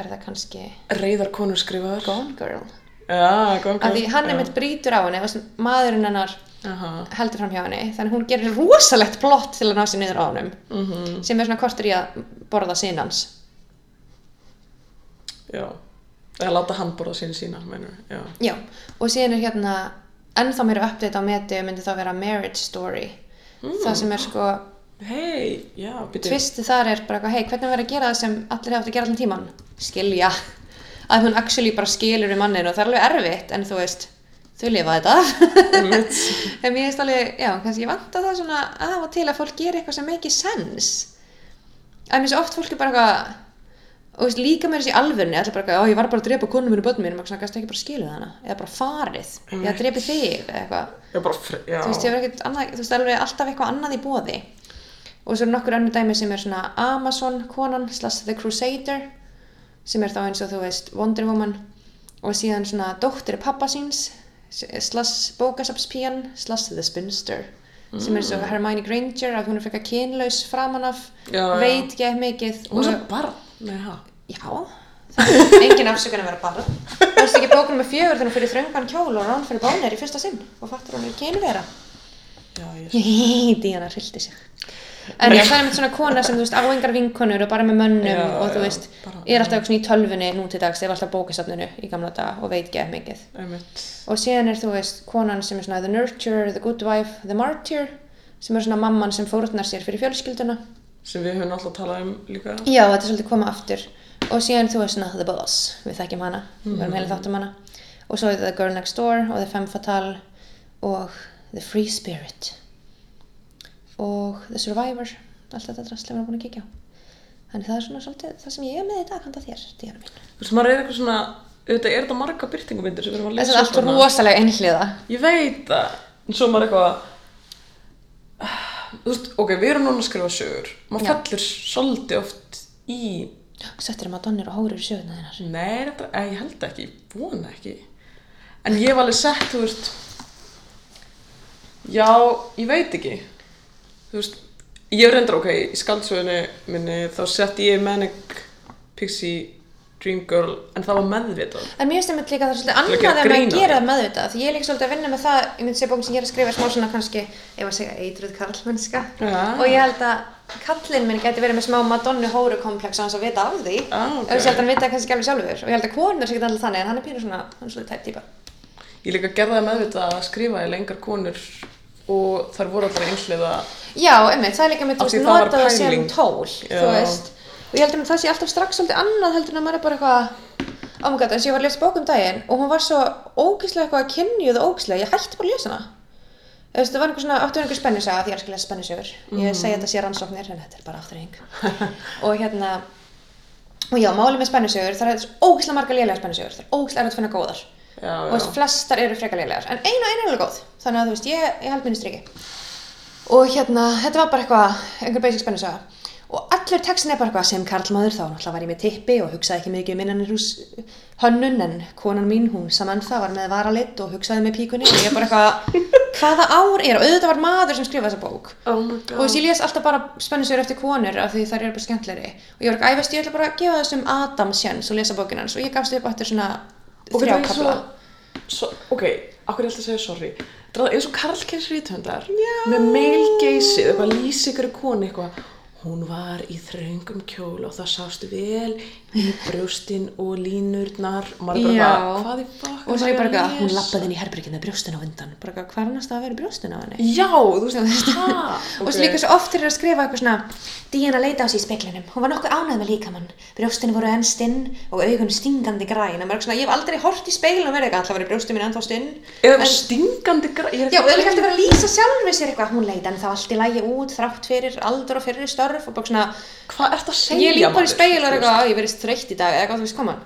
[SPEAKER 2] Er það kannski
[SPEAKER 1] reyðar konur skrifaðar
[SPEAKER 2] Gone Girl?
[SPEAKER 1] Já, góðan
[SPEAKER 2] Af því hann er mitt brýtur á henni, þú veist, maðurinn hennar
[SPEAKER 1] Aha,
[SPEAKER 2] heldur fram hjá henni þannig að hún gerir rosalegt plott til að ná sér niður á honum
[SPEAKER 1] Mhm.
[SPEAKER 2] -hmm. sem er svona kortur í að borða sinans
[SPEAKER 1] já Eða láta hann borða sín sína, meinur Já,
[SPEAKER 2] já, og síðan er hérna ennþá meira uppdætt á meti myndi þá vera marriage story það sem er sko,
[SPEAKER 1] hei, já, byrju
[SPEAKER 2] tvisti þar er bara hei, hvernig verður að gera það sem allir hafa átt að gera allan tíman skilja, að hún actually bara skilur við mannin og það er alveg erfitt en þú veist, þau lifa þetta en mér finnst alveg, já, kannski ég vanta það svona af og til að fólk gerir eitthvað sem make sense að mér svo oft fólk er bara eitthvað og veist, líka með þessi alvörni allir bara eitthvað, ó, ég var bara að drepa konum minn og börnum minn og maður svona, gæstu ekki bara skiluð hana eða bara farið, eða drepi þig eða eitthvað
[SPEAKER 1] Já, bara fri, já
[SPEAKER 2] þú veist, ég var ekkert annað, þú veist, alveg alltaf eitthvað annað í bóði og svo eru nokkur önnur dæmi sem er svona Amazon konan slash The Crusader sem er þá eins og þú veist Wonder Woman og síðan svona dóttir pappa síns slash bókasapspían slash The Spinster sem er svo Hermione Granger að hún er frekar kynlaus framan af
[SPEAKER 1] Mm. Já, já.
[SPEAKER 2] veit ekki mikið
[SPEAKER 1] Hún er bara, nei, ha
[SPEAKER 2] Já, það er engin afsökun að vera barn. Þú veist ekki bókun með fjögur þegar hún fyrir þröngan kjól og rán fyrir bónir í fyrsta sinn og fattur hún er kynvera.
[SPEAKER 1] Já, ég
[SPEAKER 2] Díana hrildi sig. En já, það er einmitt svona kona sem, þú veist, á engar vinkonur og bara með mönnum
[SPEAKER 1] Já,
[SPEAKER 2] og þú
[SPEAKER 1] já,
[SPEAKER 2] veist,
[SPEAKER 1] bara-
[SPEAKER 2] er alltaf eitthvað svona í tölfunni nú til dags, ef alltaf bókasafninu í gamla daga og veit ekki mikið.
[SPEAKER 1] Einmitt
[SPEAKER 2] Og síðan er, þú veist, konan sem er svona the nurturer, the good wife, the martyr, sem er svona mamman sem fórnar sér fyrir fjölskylduna.
[SPEAKER 1] Sem við höfum alltaf talað um líka
[SPEAKER 2] Já, þetta er svolítið koma aftur og síðan þú veist svona The Boss, við þekkjum hana við verðum heila þáttum hana og svo er The Girl Next Door og The Femme Fatale og The Free Spirit og The Survivor allt þetta drastlega við erum búin að kíkja á þannig það er svona svolítið það sem ég er með í dag handa þér, díana mín
[SPEAKER 1] Þú veist, maður er eitthvað svona, auðvitað er þetta marga byrtingumindir sem við erum að
[SPEAKER 2] Þetta er
[SPEAKER 1] lesa
[SPEAKER 2] allt rosalega einhliða
[SPEAKER 1] Ég veit það, en svo maður eitthvað Ah, Þú veist, ok, við erum núna að skrifa sögur Maður
[SPEAKER 2] Já.
[SPEAKER 1] fellur svolítið oft í
[SPEAKER 2] Settir um að donnir og hórir í sjöðuna þínar
[SPEAKER 1] Nei, þetta, eh, ég held ekki, ég vona ekki En ég hef alveg sett, þú veist Já, ég veit ekki Þú veist, ég reyndar, ok, í skaldsögunni minni Þá sett ég Manic Pixie Dream Girl En það var meðvitað
[SPEAKER 2] En mér finnst einmitt líka það er svolítið
[SPEAKER 1] Til að gera
[SPEAKER 2] annað þegar maður
[SPEAKER 1] grín að
[SPEAKER 2] gera
[SPEAKER 1] því.
[SPEAKER 2] það meðvitað því ég er líka svolítið að vinna með það ég myndi segja bókum sem ég er að skrifa er smá svona kannski ef að segja eitruð karlmennska
[SPEAKER 1] Já.
[SPEAKER 2] og ég held að kallinn minn gæti verið með smá madonnu hóru komplex hans að vita af því
[SPEAKER 1] Já, ok.
[SPEAKER 2] ef ég held að hann vita það kannski ekki alveg sjálfur og ég held að konur er ekkert alltaf þannig en hann er pínur svona, hann er svolítið tæp típa
[SPEAKER 1] Ég líka gerði það meðvitað að skrifa í lengar konur og þar voru allar einhliða
[SPEAKER 2] Já, einmitt, það er líka með
[SPEAKER 1] Af
[SPEAKER 2] þú
[SPEAKER 1] því
[SPEAKER 2] veist
[SPEAKER 1] það var
[SPEAKER 2] notað það sem
[SPEAKER 1] pæling.
[SPEAKER 2] tól
[SPEAKER 1] Já.
[SPEAKER 2] þú veist, og ég held að það sé alltaf strax svolítið annað heldur en að maður er bara eitthvað oh my god, eins og ég var að lesa bók um daginn og hún var svo ógeðslega eitthvað að kynjuð og ógeðslega, ég hætti bara að lesa hana Þú veist, það var einhver svona, áttu einhver spennisaga því ég er að lesa spennisögur
[SPEAKER 1] Mm.
[SPEAKER 2] ég segi þetta sé rannsóknir, en þetta er bara afturheng og hérna og já, máli með spennisögur, það er ógeðslega marga lélega spennisögur, það er ógeðslega erfitt að finna góðar
[SPEAKER 1] Já,
[SPEAKER 2] og
[SPEAKER 1] já.
[SPEAKER 2] þú veist, flestar eru frekar lélegar en eina og eina er alveg góð, þannig að þú veist, ég, ég held minni striki og hérna, þetta var bara eitthvað, einhver basic spennisaga og allur textin er bara eitthvað sem karlmaður þá náttúrulega var ég með tippi og hugsaði ekki mikið um innanir hús hönnun en konan mín, hún saman það var með varalit og hugsaði með píkunni og ég bara eitthvað, hvaða ár er og auðvitað var maður sem skrifaði þessa bók
[SPEAKER 1] Oh my
[SPEAKER 2] og þú veist, ég les alltaf bara spennisögur eftir konur af því þær eru bara skemmtleri og ég var ekki æfast, ég ætla bara að gefa þessum Adam sjens og lesa bókin hans og ég gafst upp eftir svona
[SPEAKER 1] Og
[SPEAKER 2] þrjá
[SPEAKER 1] þetta er
[SPEAKER 2] kafla
[SPEAKER 1] svo, svo, ok, okkur er alltaf að segja sorry Það er eins og karlkins rítöndar með male gaze eitthvað lýsi ykkur koni eitthvað hún var í þröngum kjól og það sást vel í brjóstin og línurnar og maður er bara, eitthvað, hvað í bakk
[SPEAKER 2] og svo ég bara eitthvað, "Ah, hún lappaði inn í herbergin með brjóstin á undan bara eitthvað, hvað er næst að vera brjóstin á henni
[SPEAKER 1] Já, þú veist, ha
[SPEAKER 2] og svo líka svo oft er að skrifa eitthvað svona Díana leita á sig í speklinum, hún var nokkuð ánægð með líkamann brjóstin voru enn stinn og augun stingandi græn, að maður er svona, ég hef aldrei hort í speilin og verið eitthvað, alltaf verið brjóstin mín ennþá stinn
[SPEAKER 1] Eða það var stingandi græ ég er
[SPEAKER 2] Já,
[SPEAKER 1] ekki-
[SPEAKER 2] og það er ekki alltaf verið að lýsa sjálfri sér eitthvað, hún leita en þá allt í lægi út, þrátt fyrir aldur og fyrir störf og bara svona,
[SPEAKER 1] Hvað ert að segja
[SPEAKER 2] ég lít bara í
[SPEAKER 1] maður?
[SPEAKER 2] speil og er
[SPEAKER 1] Þú veist.
[SPEAKER 2] eitthvað, "Á, ég verið þreytt í dag, eða eitthvað, þú veist, koman.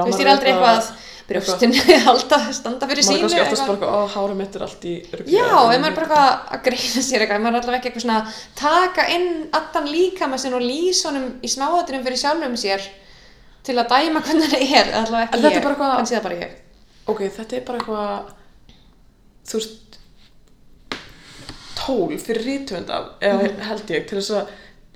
[SPEAKER 2] Þú veist,
[SPEAKER 1] maður
[SPEAKER 2] ég er aldrei
[SPEAKER 1] bara-
[SPEAKER 2] eitthvað, brjóstin halda, standa fyrir sínu.
[SPEAKER 1] maður er kannski oftast
[SPEAKER 2] eitthvað.
[SPEAKER 1] bara eitthvað, ó, hára mitt er allt í rugli
[SPEAKER 2] Já, ef maður er bara eitthvað að greina sér eitthvað, ef maður er allavega ekki eitthvað svona að taka inn allan líkama sinn og lýsa honum í smáðaturum fyrir sjálfum sér til að dæma hvernig það er, allavega ekki
[SPEAKER 1] En þetta er
[SPEAKER 2] ég,
[SPEAKER 1] bara eitthvað-
[SPEAKER 2] kannski það bara ég.
[SPEAKER 1] ok, þetta er bara eitthvað þú veist tól fyrir rítönda eða
[SPEAKER 2] Mhm.
[SPEAKER 1] held ég, til þess að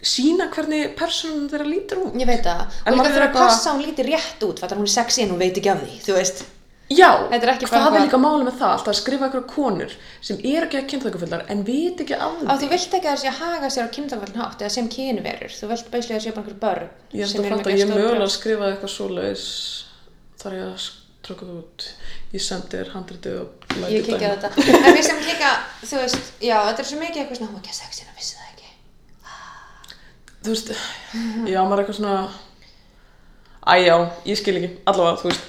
[SPEAKER 1] sína hvernig persónum þeirra lítur út
[SPEAKER 2] Ég veit það,
[SPEAKER 1] En
[SPEAKER 2] og líka
[SPEAKER 1] maður er
[SPEAKER 2] þurfa að
[SPEAKER 1] eitthvað-
[SPEAKER 2] passa að hún líti rétt út, fattar hún er sexy en hún veit ekki af því, þú veist.
[SPEAKER 1] já,
[SPEAKER 2] Þetta er ekki bara
[SPEAKER 1] það
[SPEAKER 2] eitthvað-
[SPEAKER 1] er líka máli með það alltaf að skrifa eitthvað konur sem eru ekki að kynþökkufullar en vit ekki af
[SPEAKER 2] Á
[SPEAKER 1] því
[SPEAKER 2] því vilt ekki að það sé að haga sér á kynþáfælun hátt eða sem kynverur, þú vilt bæslega að sé bara einhver börn
[SPEAKER 1] ég er
[SPEAKER 2] sem
[SPEAKER 1] þetta
[SPEAKER 2] eru með
[SPEAKER 1] að fatta að ég
[SPEAKER 2] stór
[SPEAKER 1] mögulega
[SPEAKER 2] brjóst.
[SPEAKER 1] skrifaði eitthvað svoleiðis þar ég að trökka það út ég sendi þér handritið og hérna. læti
[SPEAKER 2] Ég kikki á
[SPEAKER 1] dæma.
[SPEAKER 2] þetta, en við sem líka, þú veist, já, þetta er svo mikið eitthvað svona, hún var ekki að sexina, vissi það ekki.
[SPEAKER 1] þú veist, já, maður er eitthvað svona æjá, ég skil ekki, allavega, þú veist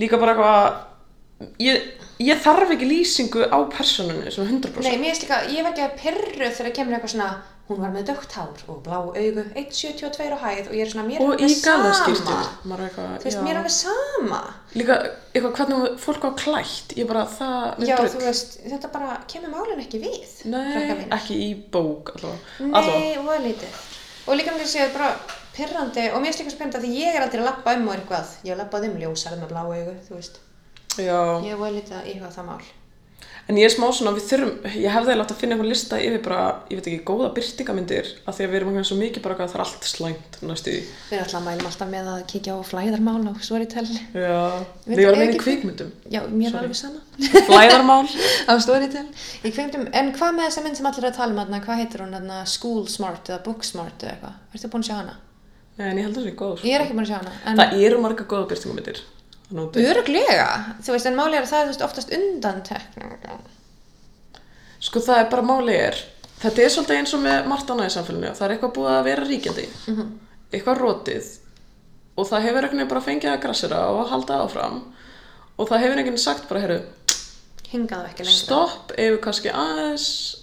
[SPEAKER 1] líka bara eitthvað ég, ég þarf ekki lýsingu á personunni svona 100%
[SPEAKER 2] Nei, mér finnst líka, ég var ekki að pyrru þegar kemur eitthvað svona, hún var með dögt hár og blá augu, 1,72 á hæð og ég er svona, mér er
[SPEAKER 1] og í
[SPEAKER 2] alveg
[SPEAKER 1] gallaskýrtu
[SPEAKER 2] sama.
[SPEAKER 1] maður er eitthvað,
[SPEAKER 2] Þú veist,
[SPEAKER 1] já
[SPEAKER 2] mér er alveg sama.
[SPEAKER 1] líka eitthvað hvernig fólk á klætt ég bara, það, mér
[SPEAKER 2] Já,
[SPEAKER 1] drugg.
[SPEAKER 2] þú veist, þetta bara kemur málun ekki við, krakkar
[SPEAKER 1] nei,
[SPEAKER 2] mínir.
[SPEAKER 1] ekki í bók allavega, allavega.
[SPEAKER 2] Nei, og að lítið. Og líka mér séu bara pirrandi og mér er líka spennandi að því ég er aldrei að lappa um og eitthvað. Ég lappaði um ljósar með blá augu, þú veist.
[SPEAKER 1] já,
[SPEAKER 2] Ég er að lítið að íhuga það mál.
[SPEAKER 1] En ég er smá svona, við þurfum, ég hefði látt að finna eitthvað lista yfir bara, ég veit ekki, góða byrtingamindir af því að við erum eitthvað svo mikið bara að það er allt slæmt næstu því.
[SPEAKER 2] Við erum alltaf að mælum alltaf með að kíkja á flæðarmál og storytel.
[SPEAKER 1] Já,
[SPEAKER 2] Ég veit
[SPEAKER 1] við varum
[SPEAKER 2] ekki-
[SPEAKER 1] einu kvikmyndum.
[SPEAKER 2] Já, mér er
[SPEAKER 1] Sorry.
[SPEAKER 2] alveg sama.
[SPEAKER 1] Flæðarmál.
[SPEAKER 2] á storytel. Ég kveimt um, en hvað með þessa mynd sem allir eru að tala um hérna, hvað heitir hún hérna, school smart eða book smart eða eitthvað? Ertu búin að sjá hana?
[SPEAKER 1] Nei, en ég held að það sé góð. sko.
[SPEAKER 2] Ég er ekki búin að sjá hana. En...
[SPEAKER 1] Það eru marga góða byrtingamindir. Nóti.
[SPEAKER 2] Öruglega, þú veist, en máli er að það er þú veist, oftast undantekningar.
[SPEAKER 1] Sko það er bara máli er, þetta er svolítið eins og með margt annað í samfélaginu, það er eitthvað búið að vera ríkjandi,
[SPEAKER 2] Mhm.
[SPEAKER 1] eitthvað rótið og það hefur einhvern veginn bara fengið að grassera og að halda áfram og það hefur einhvern veginn sagt bara, herru,
[SPEAKER 2] Hingað og ekki lengra.
[SPEAKER 1] stopp, ef við kannski aðeins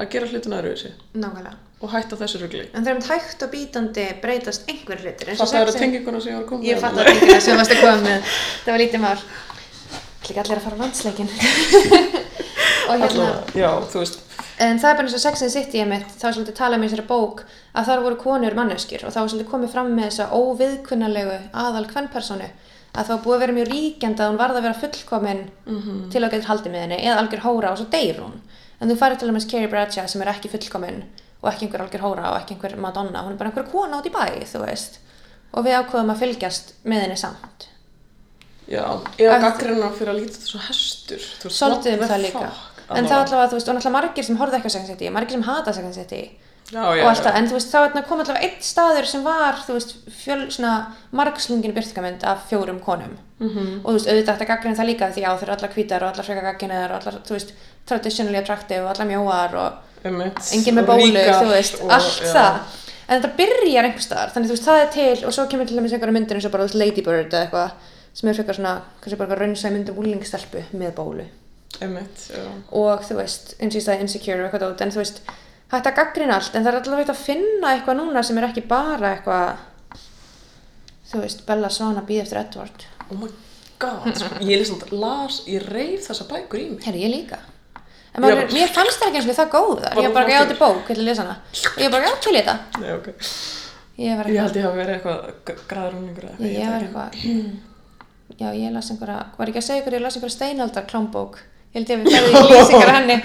[SPEAKER 1] að gera hlutina öðruvísi
[SPEAKER 2] nákvæmlega.
[SPEAKER 1] og hætta þessu rugli.
[SPEAKER 2] En það er um hægt og bítandi breytast einhver hlutir. eins og
[SPEAKER 1] Fattu Það eru
[SPEAKER 2] sexi-
[SPEAKER 1] tenginguna sem ég var að koma
[SPEAKER 2] Ég
[SPEAKER 1] með hérna.
[SPEAKER 2] fatt
[SPEAKER 1] þarna.
[SPEAKER 2] að tengina sem þú varst að koma með. Það var lítið mál. Það er ekki allir að fara á landsleikin. og hérna,
[SPEAKER 1] Allavega, Já, þú veist,
[SPEAKER 2] en það er bara eins og Sex and the City ég mitt, þá er svolítið talað með þessari bók að þar voru konur manneskjur og þá var svolítið komið fram með þessa óviðkunnalegu aðal kvennpersonu að þá var búið að vera mjög ríkjandi að hún varð að vera fullkomin
[SPEAKER 1] Mhm.
[SPEAKER 2] til að geta haldið með henni eða algjör hóra og svo deyr hún en þú farið til dæmis Carrie Bradshaw sem er ekki fullkomin og ekki einhver algjör hóra og ekki einhver Madonna hún er bara einhver kona út í bæ, þú veist og við ákveðum að fylgjast með henni samt
[SPEAKER 1] já, eða
[SPEAKER 2] Að-
[SPEAKER 1] gaggrina fyrir að líta þetta svo hestur. þú veist, what
[SPEAKER 2] svolítið um
[SPEAKER 1] the
[SPEAKER 2] það líka
[SPEAKER 1] fuck,
[SPEAKER 2] en
[SPEAKER 1] allavega.
[SPEAKER 2] það allavega, þú veist, og náttúrulega margir sem horfðu ekki á Sex and the City margir sem hata Sex and the City
[SPEAKER 1] Já, já,
[SPEAKER 2] og allt
[SPEAKER 1] já.
[SPEAKER 2] það, en þú veist, þá er þarna kom allavega einn staður sem var, þú veist, fjöl, svona margslungin byrtingamönd af fjórum konum
[SPEAKER 1] Mhm.
[SPEAKER 2] -hmm. og þú veist, auðvitað þetta gaggrinn það líka því á þeir eru allar hvítar og allar freka gagginar og allar, þú veist, traditionally attractive og allar mjóar og
[SPEAKER 1] Einmitt.
[SPEAKER 2] enginn með
[SPEAKER 1] Og
[SPEAKER 2] bólu,
[SPEAKER 1] ríkar
[SPEAKER 2] þú veist,
[SPEAKER 1] og-
[SPEAKER 2] allt
[SPEAKER 1] já.
[SPEAKER 2] það en þetta byrjar einhvers staðar, þannig þú veist, það er til og svo kemur til dæmis einhverja myndir eins og bara, þú veist, Ladybird eða eitthvað sem er frekar svona, kannski bara raunsæð mynd um úlingstelpu með bólu
[SPEAKER 1] Einmitt, já.
[SPEAKER 2] og þú veist, eins og ég sagði insecure og eitthvað út, en þú veist, hægt að gaggrina allt en það er allavega hægt að finna eitthvað núna sem er ekki bara eitthvað þú veist, Bella Svan að býða eftir Edward
[SPEAKER 1] Oh my god, sko, ég er svona las, ég reyf þessa bækur í mig.
[SPEAKER 2] Herri, ég líka En
[SPEAKER 1] Já,
[SPEAKER 2] maður,
[SPEAKER 1] bara-
[SPEAKER 2] mér fannst það ekki eins og það góðar Ég var bara, já, þetta er bók, ég ætla að lesa hana Og Ég var bara, já, til í þetta
[SPEAKER 1] Nei, ok.
[SPEAKER 2] Ég var
[SPEAKER 1] Ég
[SPEAKER 2] eitthvað,
[SPEAKER 1] held ég hafi verið eitthvað graðrúningur eða
[SPEAKER 2] ég,
[SPEAKER 1] veit
[SPEAKER 2] var
[SPEAKER 1] ekki.
[SPEAKER 2] eitthvað Já, ég las einhverja, var ekki að segja ykkur, ég las einhverja steinaldar klámbók Ég held ég að við fæðum í lýsingar á henni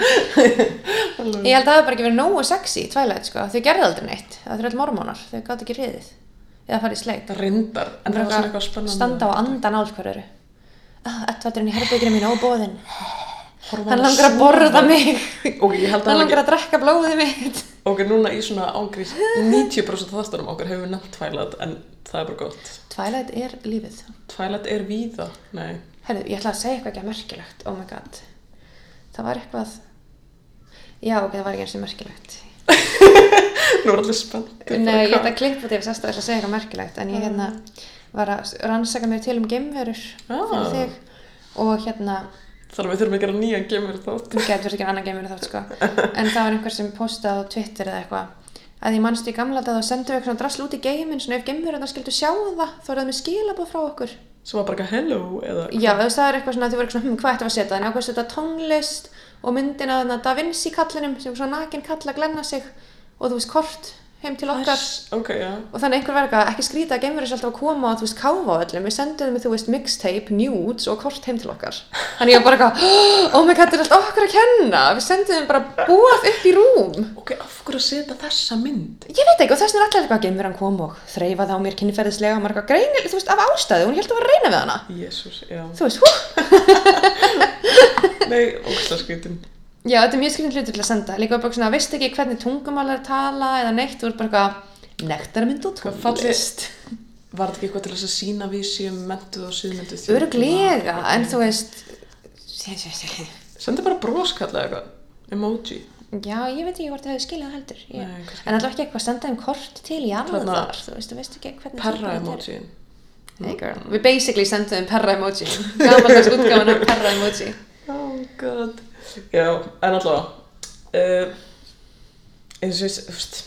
[SPEAKER 2] Ég held að það hafi bara ekki verið nógu sexy í Twilight sko, þau gerði aldrei neitt, það þau eru all mormónar, þau gátt ekki riðið eða farið í sleik.
[SPEAKER 1] Það reyndar, en það var svona eitthvað spennandi.
[SPEAKER 2] Standa á andan á hver eru. Ah, Edvardurinn í herbygginu mínu óbóðin.
[SPEAKER 1] Horfa á
[SPEAKER 2] Hann
[SPEAKER 1] hana
[SPEAKER 2] langar að
[SPEAKER 1] sofa.
[SPEAKER 2] borða mig.
[SPEAKER 1] Ok, ég held að
[SPEAKER 2] Hann
[SPEAKER 1] hann
[SPEAKER 2] langar að drekka blóðið mitt.
[SPEAKER 1] Ok, núna í svona ángrís, 90% af þáttunum okkar hefur nefnt Twilight, en það er bara gott.
[SPEAKER 2] Twilight er lífið.
[SPEAKER 1] Twilight er víða, nei.
[SPEAKER 2] Herðu, ég ætla að segja eitthvað ekki að merkilegt. Oh my god. Það var eitthvað... Já, ok, það var ekki eins og merkilegt.
[SPEAKER 1] Nú er allir spennt.
[SPEAKER 2] Nei, ég ætla að klippa þetta ef sérst að ætla að segja eitthvað merkilegt en ég hérna var að rannsaka mér til um geimverur
[SPEAKER 1] Ah.
[SPEAKER 2] fyrir þig og hérna,
[SPEAKER 1] Þannig að við þurfum að gera nýjan gemur þátt.
[SPEAKER 2] þú getur ekki annan geimveru þátt sko, en það var einhver sem postaði á Twitter eða eitthvað að ég manstu í gamla dag þá sendum við eitthvað svona drasl út í geiminn svona ef geimverurna skildu sjá það þá er það með skilabóð frá okkur
[SPEAKER 1] Sem var bara eitthvað hello eða...
[SPEAKER 2] Já, þú veist, það er eitthvað svona, þau voru eitthvað svona, hm, hvað ættum við að setja þannig, ákveðst þetta tónlist og myndina þarna Da Vinci kallinum sem svona nakin kall að glenna sig og þú veist, kort heim til okkar
[SPEAKER 1] Ok, já.
[SPEAKER 2] og þannig einhver var eitthvað ekki skrýta að geimverið sér alltaf að koma og þú veist káfa á öllum, við sendum þeim þú veist mixtape, nudes og kort heim til okkar þannig ég var bara eitthvað, oh my god, þetta er allt okkur að kenna við sendum þeim bara búað upp í rúm
[SPEAKER 1] Ok, af hverju að setja þessa mynd?
[SPEAKER 2] ég veit ekki og þess vegna er allir eitthvað að geimverið kom og þreifaði á mér kynferðislega og marga greinil, þú veist, af ástæðu, hún held að vera að reyna við hana
[SPEAKER 1] Jésús, já.
[SPEAKER 2] þú veist, hú,
[SPEAKER 1] Nei, ógstlega skrítin.
[SPEAKER 2] já, þetta er mjög skrýnt hlutur til að senda líka bara svona, veist ekki hvernig tungumál er að tala eða neitt, þú er bara eitthvað nektarmynd og
[SPEAKER 1] Hvað fallist?
[SPEAKER 2] tónlist
[SPEAKER 1] Eh, Var þetta ekki eitthvað til þess að sína við séum mentuð og síðmynduð þjóð?
[SPEAKER 2] öruglega, en þú veist
[SPEAKER 1] Sendi bara broskall eða eitthvað. Emoji.
[SPEAKER 2] Já, ég veit ekki hvort þau hefur skiljað heldur ég.
[SPEAKER 1] Nei, kannski
[SPEAKER 2] En alltaf ekki eitthvað að senda þeim kort til jarðar
[SPEAKER 1] Þarna-
[SPEAKER 2] þar, þú veist, þú veist ekki hvernig
[SPEAKER 1] Perra
[SPEAKER 2] samband er.
[SPEAKER 1] emojiin.
[SPEAKER 2] Hey girl, við basically sendum þeim perra emoji Gamaldags útgáfan af perra emoji
[SPEAKER 1] Oh god. Já, en allavega. Uh, eins og ég, þú veist,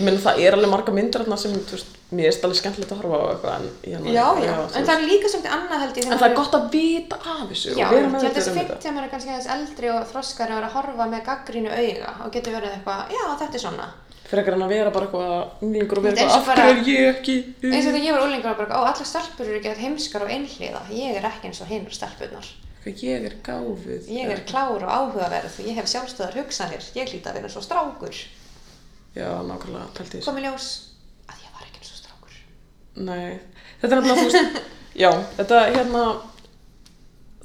[SPEAKER 1] ég meina það er alveg marga myndir þarna sem, þú veist, mér er alveg skemmtilegt að horfa á eitthvað, en ég þú
[SPEAKER 2] En
[SPEAKER 1] veist.
[SPEAKER 2] það er líka svolítið annað held ég
[SPEAKER 1] En það er gott að vita af þessu
[SPEAKER 2] Já,
[SPEAKER 1] og
[SPEAKER 2] ég
[SPEAKER 1] vera
[SPEAKER 2] held
[SPEAKER 1] með
[SPEAKER 2] að þessi
[SPEAKER 1] um
[SPEAKER 2] fint
[SPEAKER 1] þetta.
[SPEAKER 2] þegar maður er kannski aðeins eldri og þroskari og er að horfa með gaggrínu auga og getur verið eitthvað, já þetta er svona
[SPEAKER 1] Frekar en að vera bara eitthvað unglingur og vera
[SPEAKER 2] Þetta er eins
[SPEAKER 1] eitthvað, af
[SPEAKER 2] og bara-
[SPEAKER 1] hverju er ég ekki?
[SPEAKER 2] eins og þegar ég var úlingur og bara, ó allar stelpur eru ekki heimskar og einhliða ég er ekki eins og hinar stelpurnar
[SPEAKER 1] Eitthvað, Ég er gáfuð.
[SPEAKER 2] Ég er klár og áhugaverð, ég hef sjálfstöðar hugsanir, ég hlýta að vera svo strákur.
[SPEAKER 1] Já, nákvæmlega, pælti þessu.
[SPEAKER 2] Kom í ljós að ég var ekki svo strákur.
[SPEAKER 1] Nei, þetta er nefnilega, þú veist, já, þetta hérna,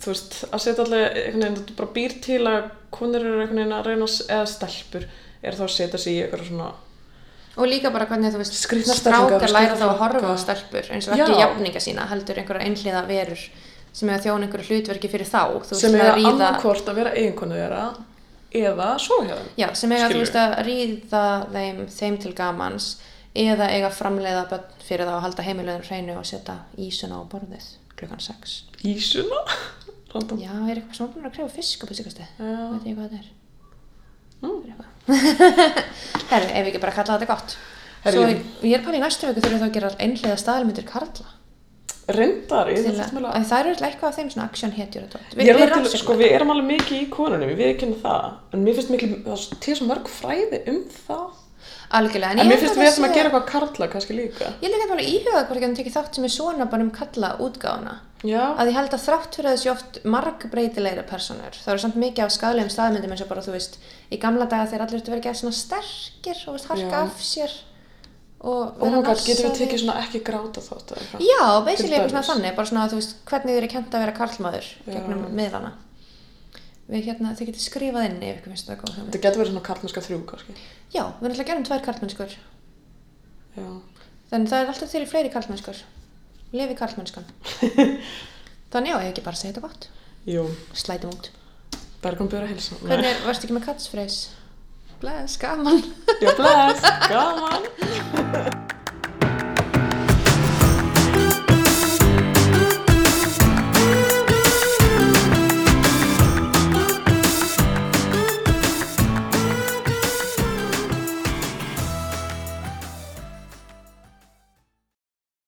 [SPEAKER 1] þú veist, að setja allir einhvern veginn, þetta bara býr til að konur eru einhvern veginn að reyna, s- eða stelpur, er þá að setja sig í eitthvað svona,
[SPEAKER 2] Og líka bara hvernig þú veist,
[SPEAKER 1] Skrýtnar
[SPEAKER 2] strákar
[SPEAKER 1] stellingar,
[SPEAKER 2] læra þá að
[SPEAKER 1] skrýtna
[SPEAKER 2] horfa á
[SPEAKER 1] flokka.
[SPEAKER 2] stelpur eins og ekki
[SPEAKER 1] Já.
[SPEAKER 2] jafninga sína, heldur einhverja einhliða verur sem er að þjóna einhverju hlutverki fyrir þá. Þú veist,
[SPEAKER 1] sem
[SPEAKER 2] að
[SPEAKER 1] er
[SPEAKER 2] ríða-
[SPEAKER 1] annarkvort að vera eiginkonu þeirra, eða svo hjá þeim.
[SPEAKER 2] Já, sem eiga þú
[SPEAKER 1] Skilurðu?
[SPEAKER 2] veist að ríða þeim, þeim til gamans eða eiga framleiða börn fyrir þá að halda heimilegður hreinu og setja ísuna á borðið klukkan 6.
[SPEAKER 1] Ísuna? Random.
[SPEAKER 2] Já, er eitthvað sem var búin að krefa fisk á fiskastið?
[SPEAKER 1] Já.
[SPEAKER 2] Veit ég hvað það er?
[SPEAKER 1] Mm.
[SPEAKER 2] Er eitthvað? Herru, ef við ekki bara að kalla þetta gott.
[SPEAKER 1] Herru,
[SPEAKER 2] Svo
[SPEAKER 1] jú.
[SPEAKER 2] ég, ég er bara í næstu viku þurfum við þá að gera einhlega staðalmyndir karla.
[SPEAKER 1] Reyndar, ég
[SPEAKER 2] Til
[SPEAKER 1] þurfti
[SPEAKER 2] að,
[SPEAKER 1] meðlega
[SPEAKER 2] að það eru eitthvað eitthvað af þeim svona action hetjur og tótt.
[SPEAKER 1] Við, við, til, sko, við erum alveg mikið í konunum, við erum ekki það en mér finnst miklu, það er til svo mörg fræði um það
[SPEAKER 2] Algjörlega.
[SPEAKER 1] en
[SPEAKER 2] ég
[SPEAKER 1] mér
[SPEAKER 2] held
[SPEAKER 1] finnst
[SPEAKER 2] að
[SPEAKER 1] við
[SPEAKER 2] það
[SPEAKER 1] ætlum að
[SPEAKER 2] sé-
[SPEAKER 1] gera eitthvað karla kannski líka
[SPEAKER 2] Ég er líka bara íhugað hvort ég hann tekið þátt sem er svona bara um kalla útgáfuna.
[SPEAKER 1] já,
[SPEAKER 2] Að ég held að þrátt fyrir að þessi oft margbreytilegri personur. Það eru samt mikið af skadlegum staðmyndum eins og bara, þú veist, í gamla daga þeir allir ertu verið að gera svona sterkir og veist, harka
[SPEAKER 1] Já.
[SPEAKER 2] af sér. Og
[SPEAKER 1] oh
[SPEAKER 2] vera
[SPEAKER 1] my god, getum við
[SPEAKER 2] nassari.
[SPEAKER 1] tekið svona ekki gráta þátt eða eitthvað?
[SPEAKER 2] Já, basically
[SPEAKER 1] Til
[SPEAKER 2] eitthvað svona
[SPEAKER 1] dæmis.
[SPEAKER 2] þannig, bara svona að þú veist hvernig þið eru kent að vera karlmaður gegnum
[SPEAKER 1] Já.
[SPEAKER 2] miðlana. Við hérna, þið getið skrifað inn ef ykkur finnst þetta góð hugmynd.
[SPEAKER 1] þetta getur verið svona karlmennska þrjú kannski
[SPEAKER 2] Já, við erum alltaf að gera um tvær karlmennskur.
[SPEAKER 1] já,
[SPEAKER 2] Þannig það er alltaf til í fleiri karlmennskur. Lefi karlmennskan. Þannig já, ég ekki bara að segja þetta gott.
[SPEAKER 1] jú,
[SPEAKER 2] Slætum út.
[SPEAKER 1] Bergrún byrja að hilsa Nei.
[SPEAKER 2] Hvernig, varstu ekki með katsfreys? Bless, gaman.
[SPEAKER 1] já, bless, gaman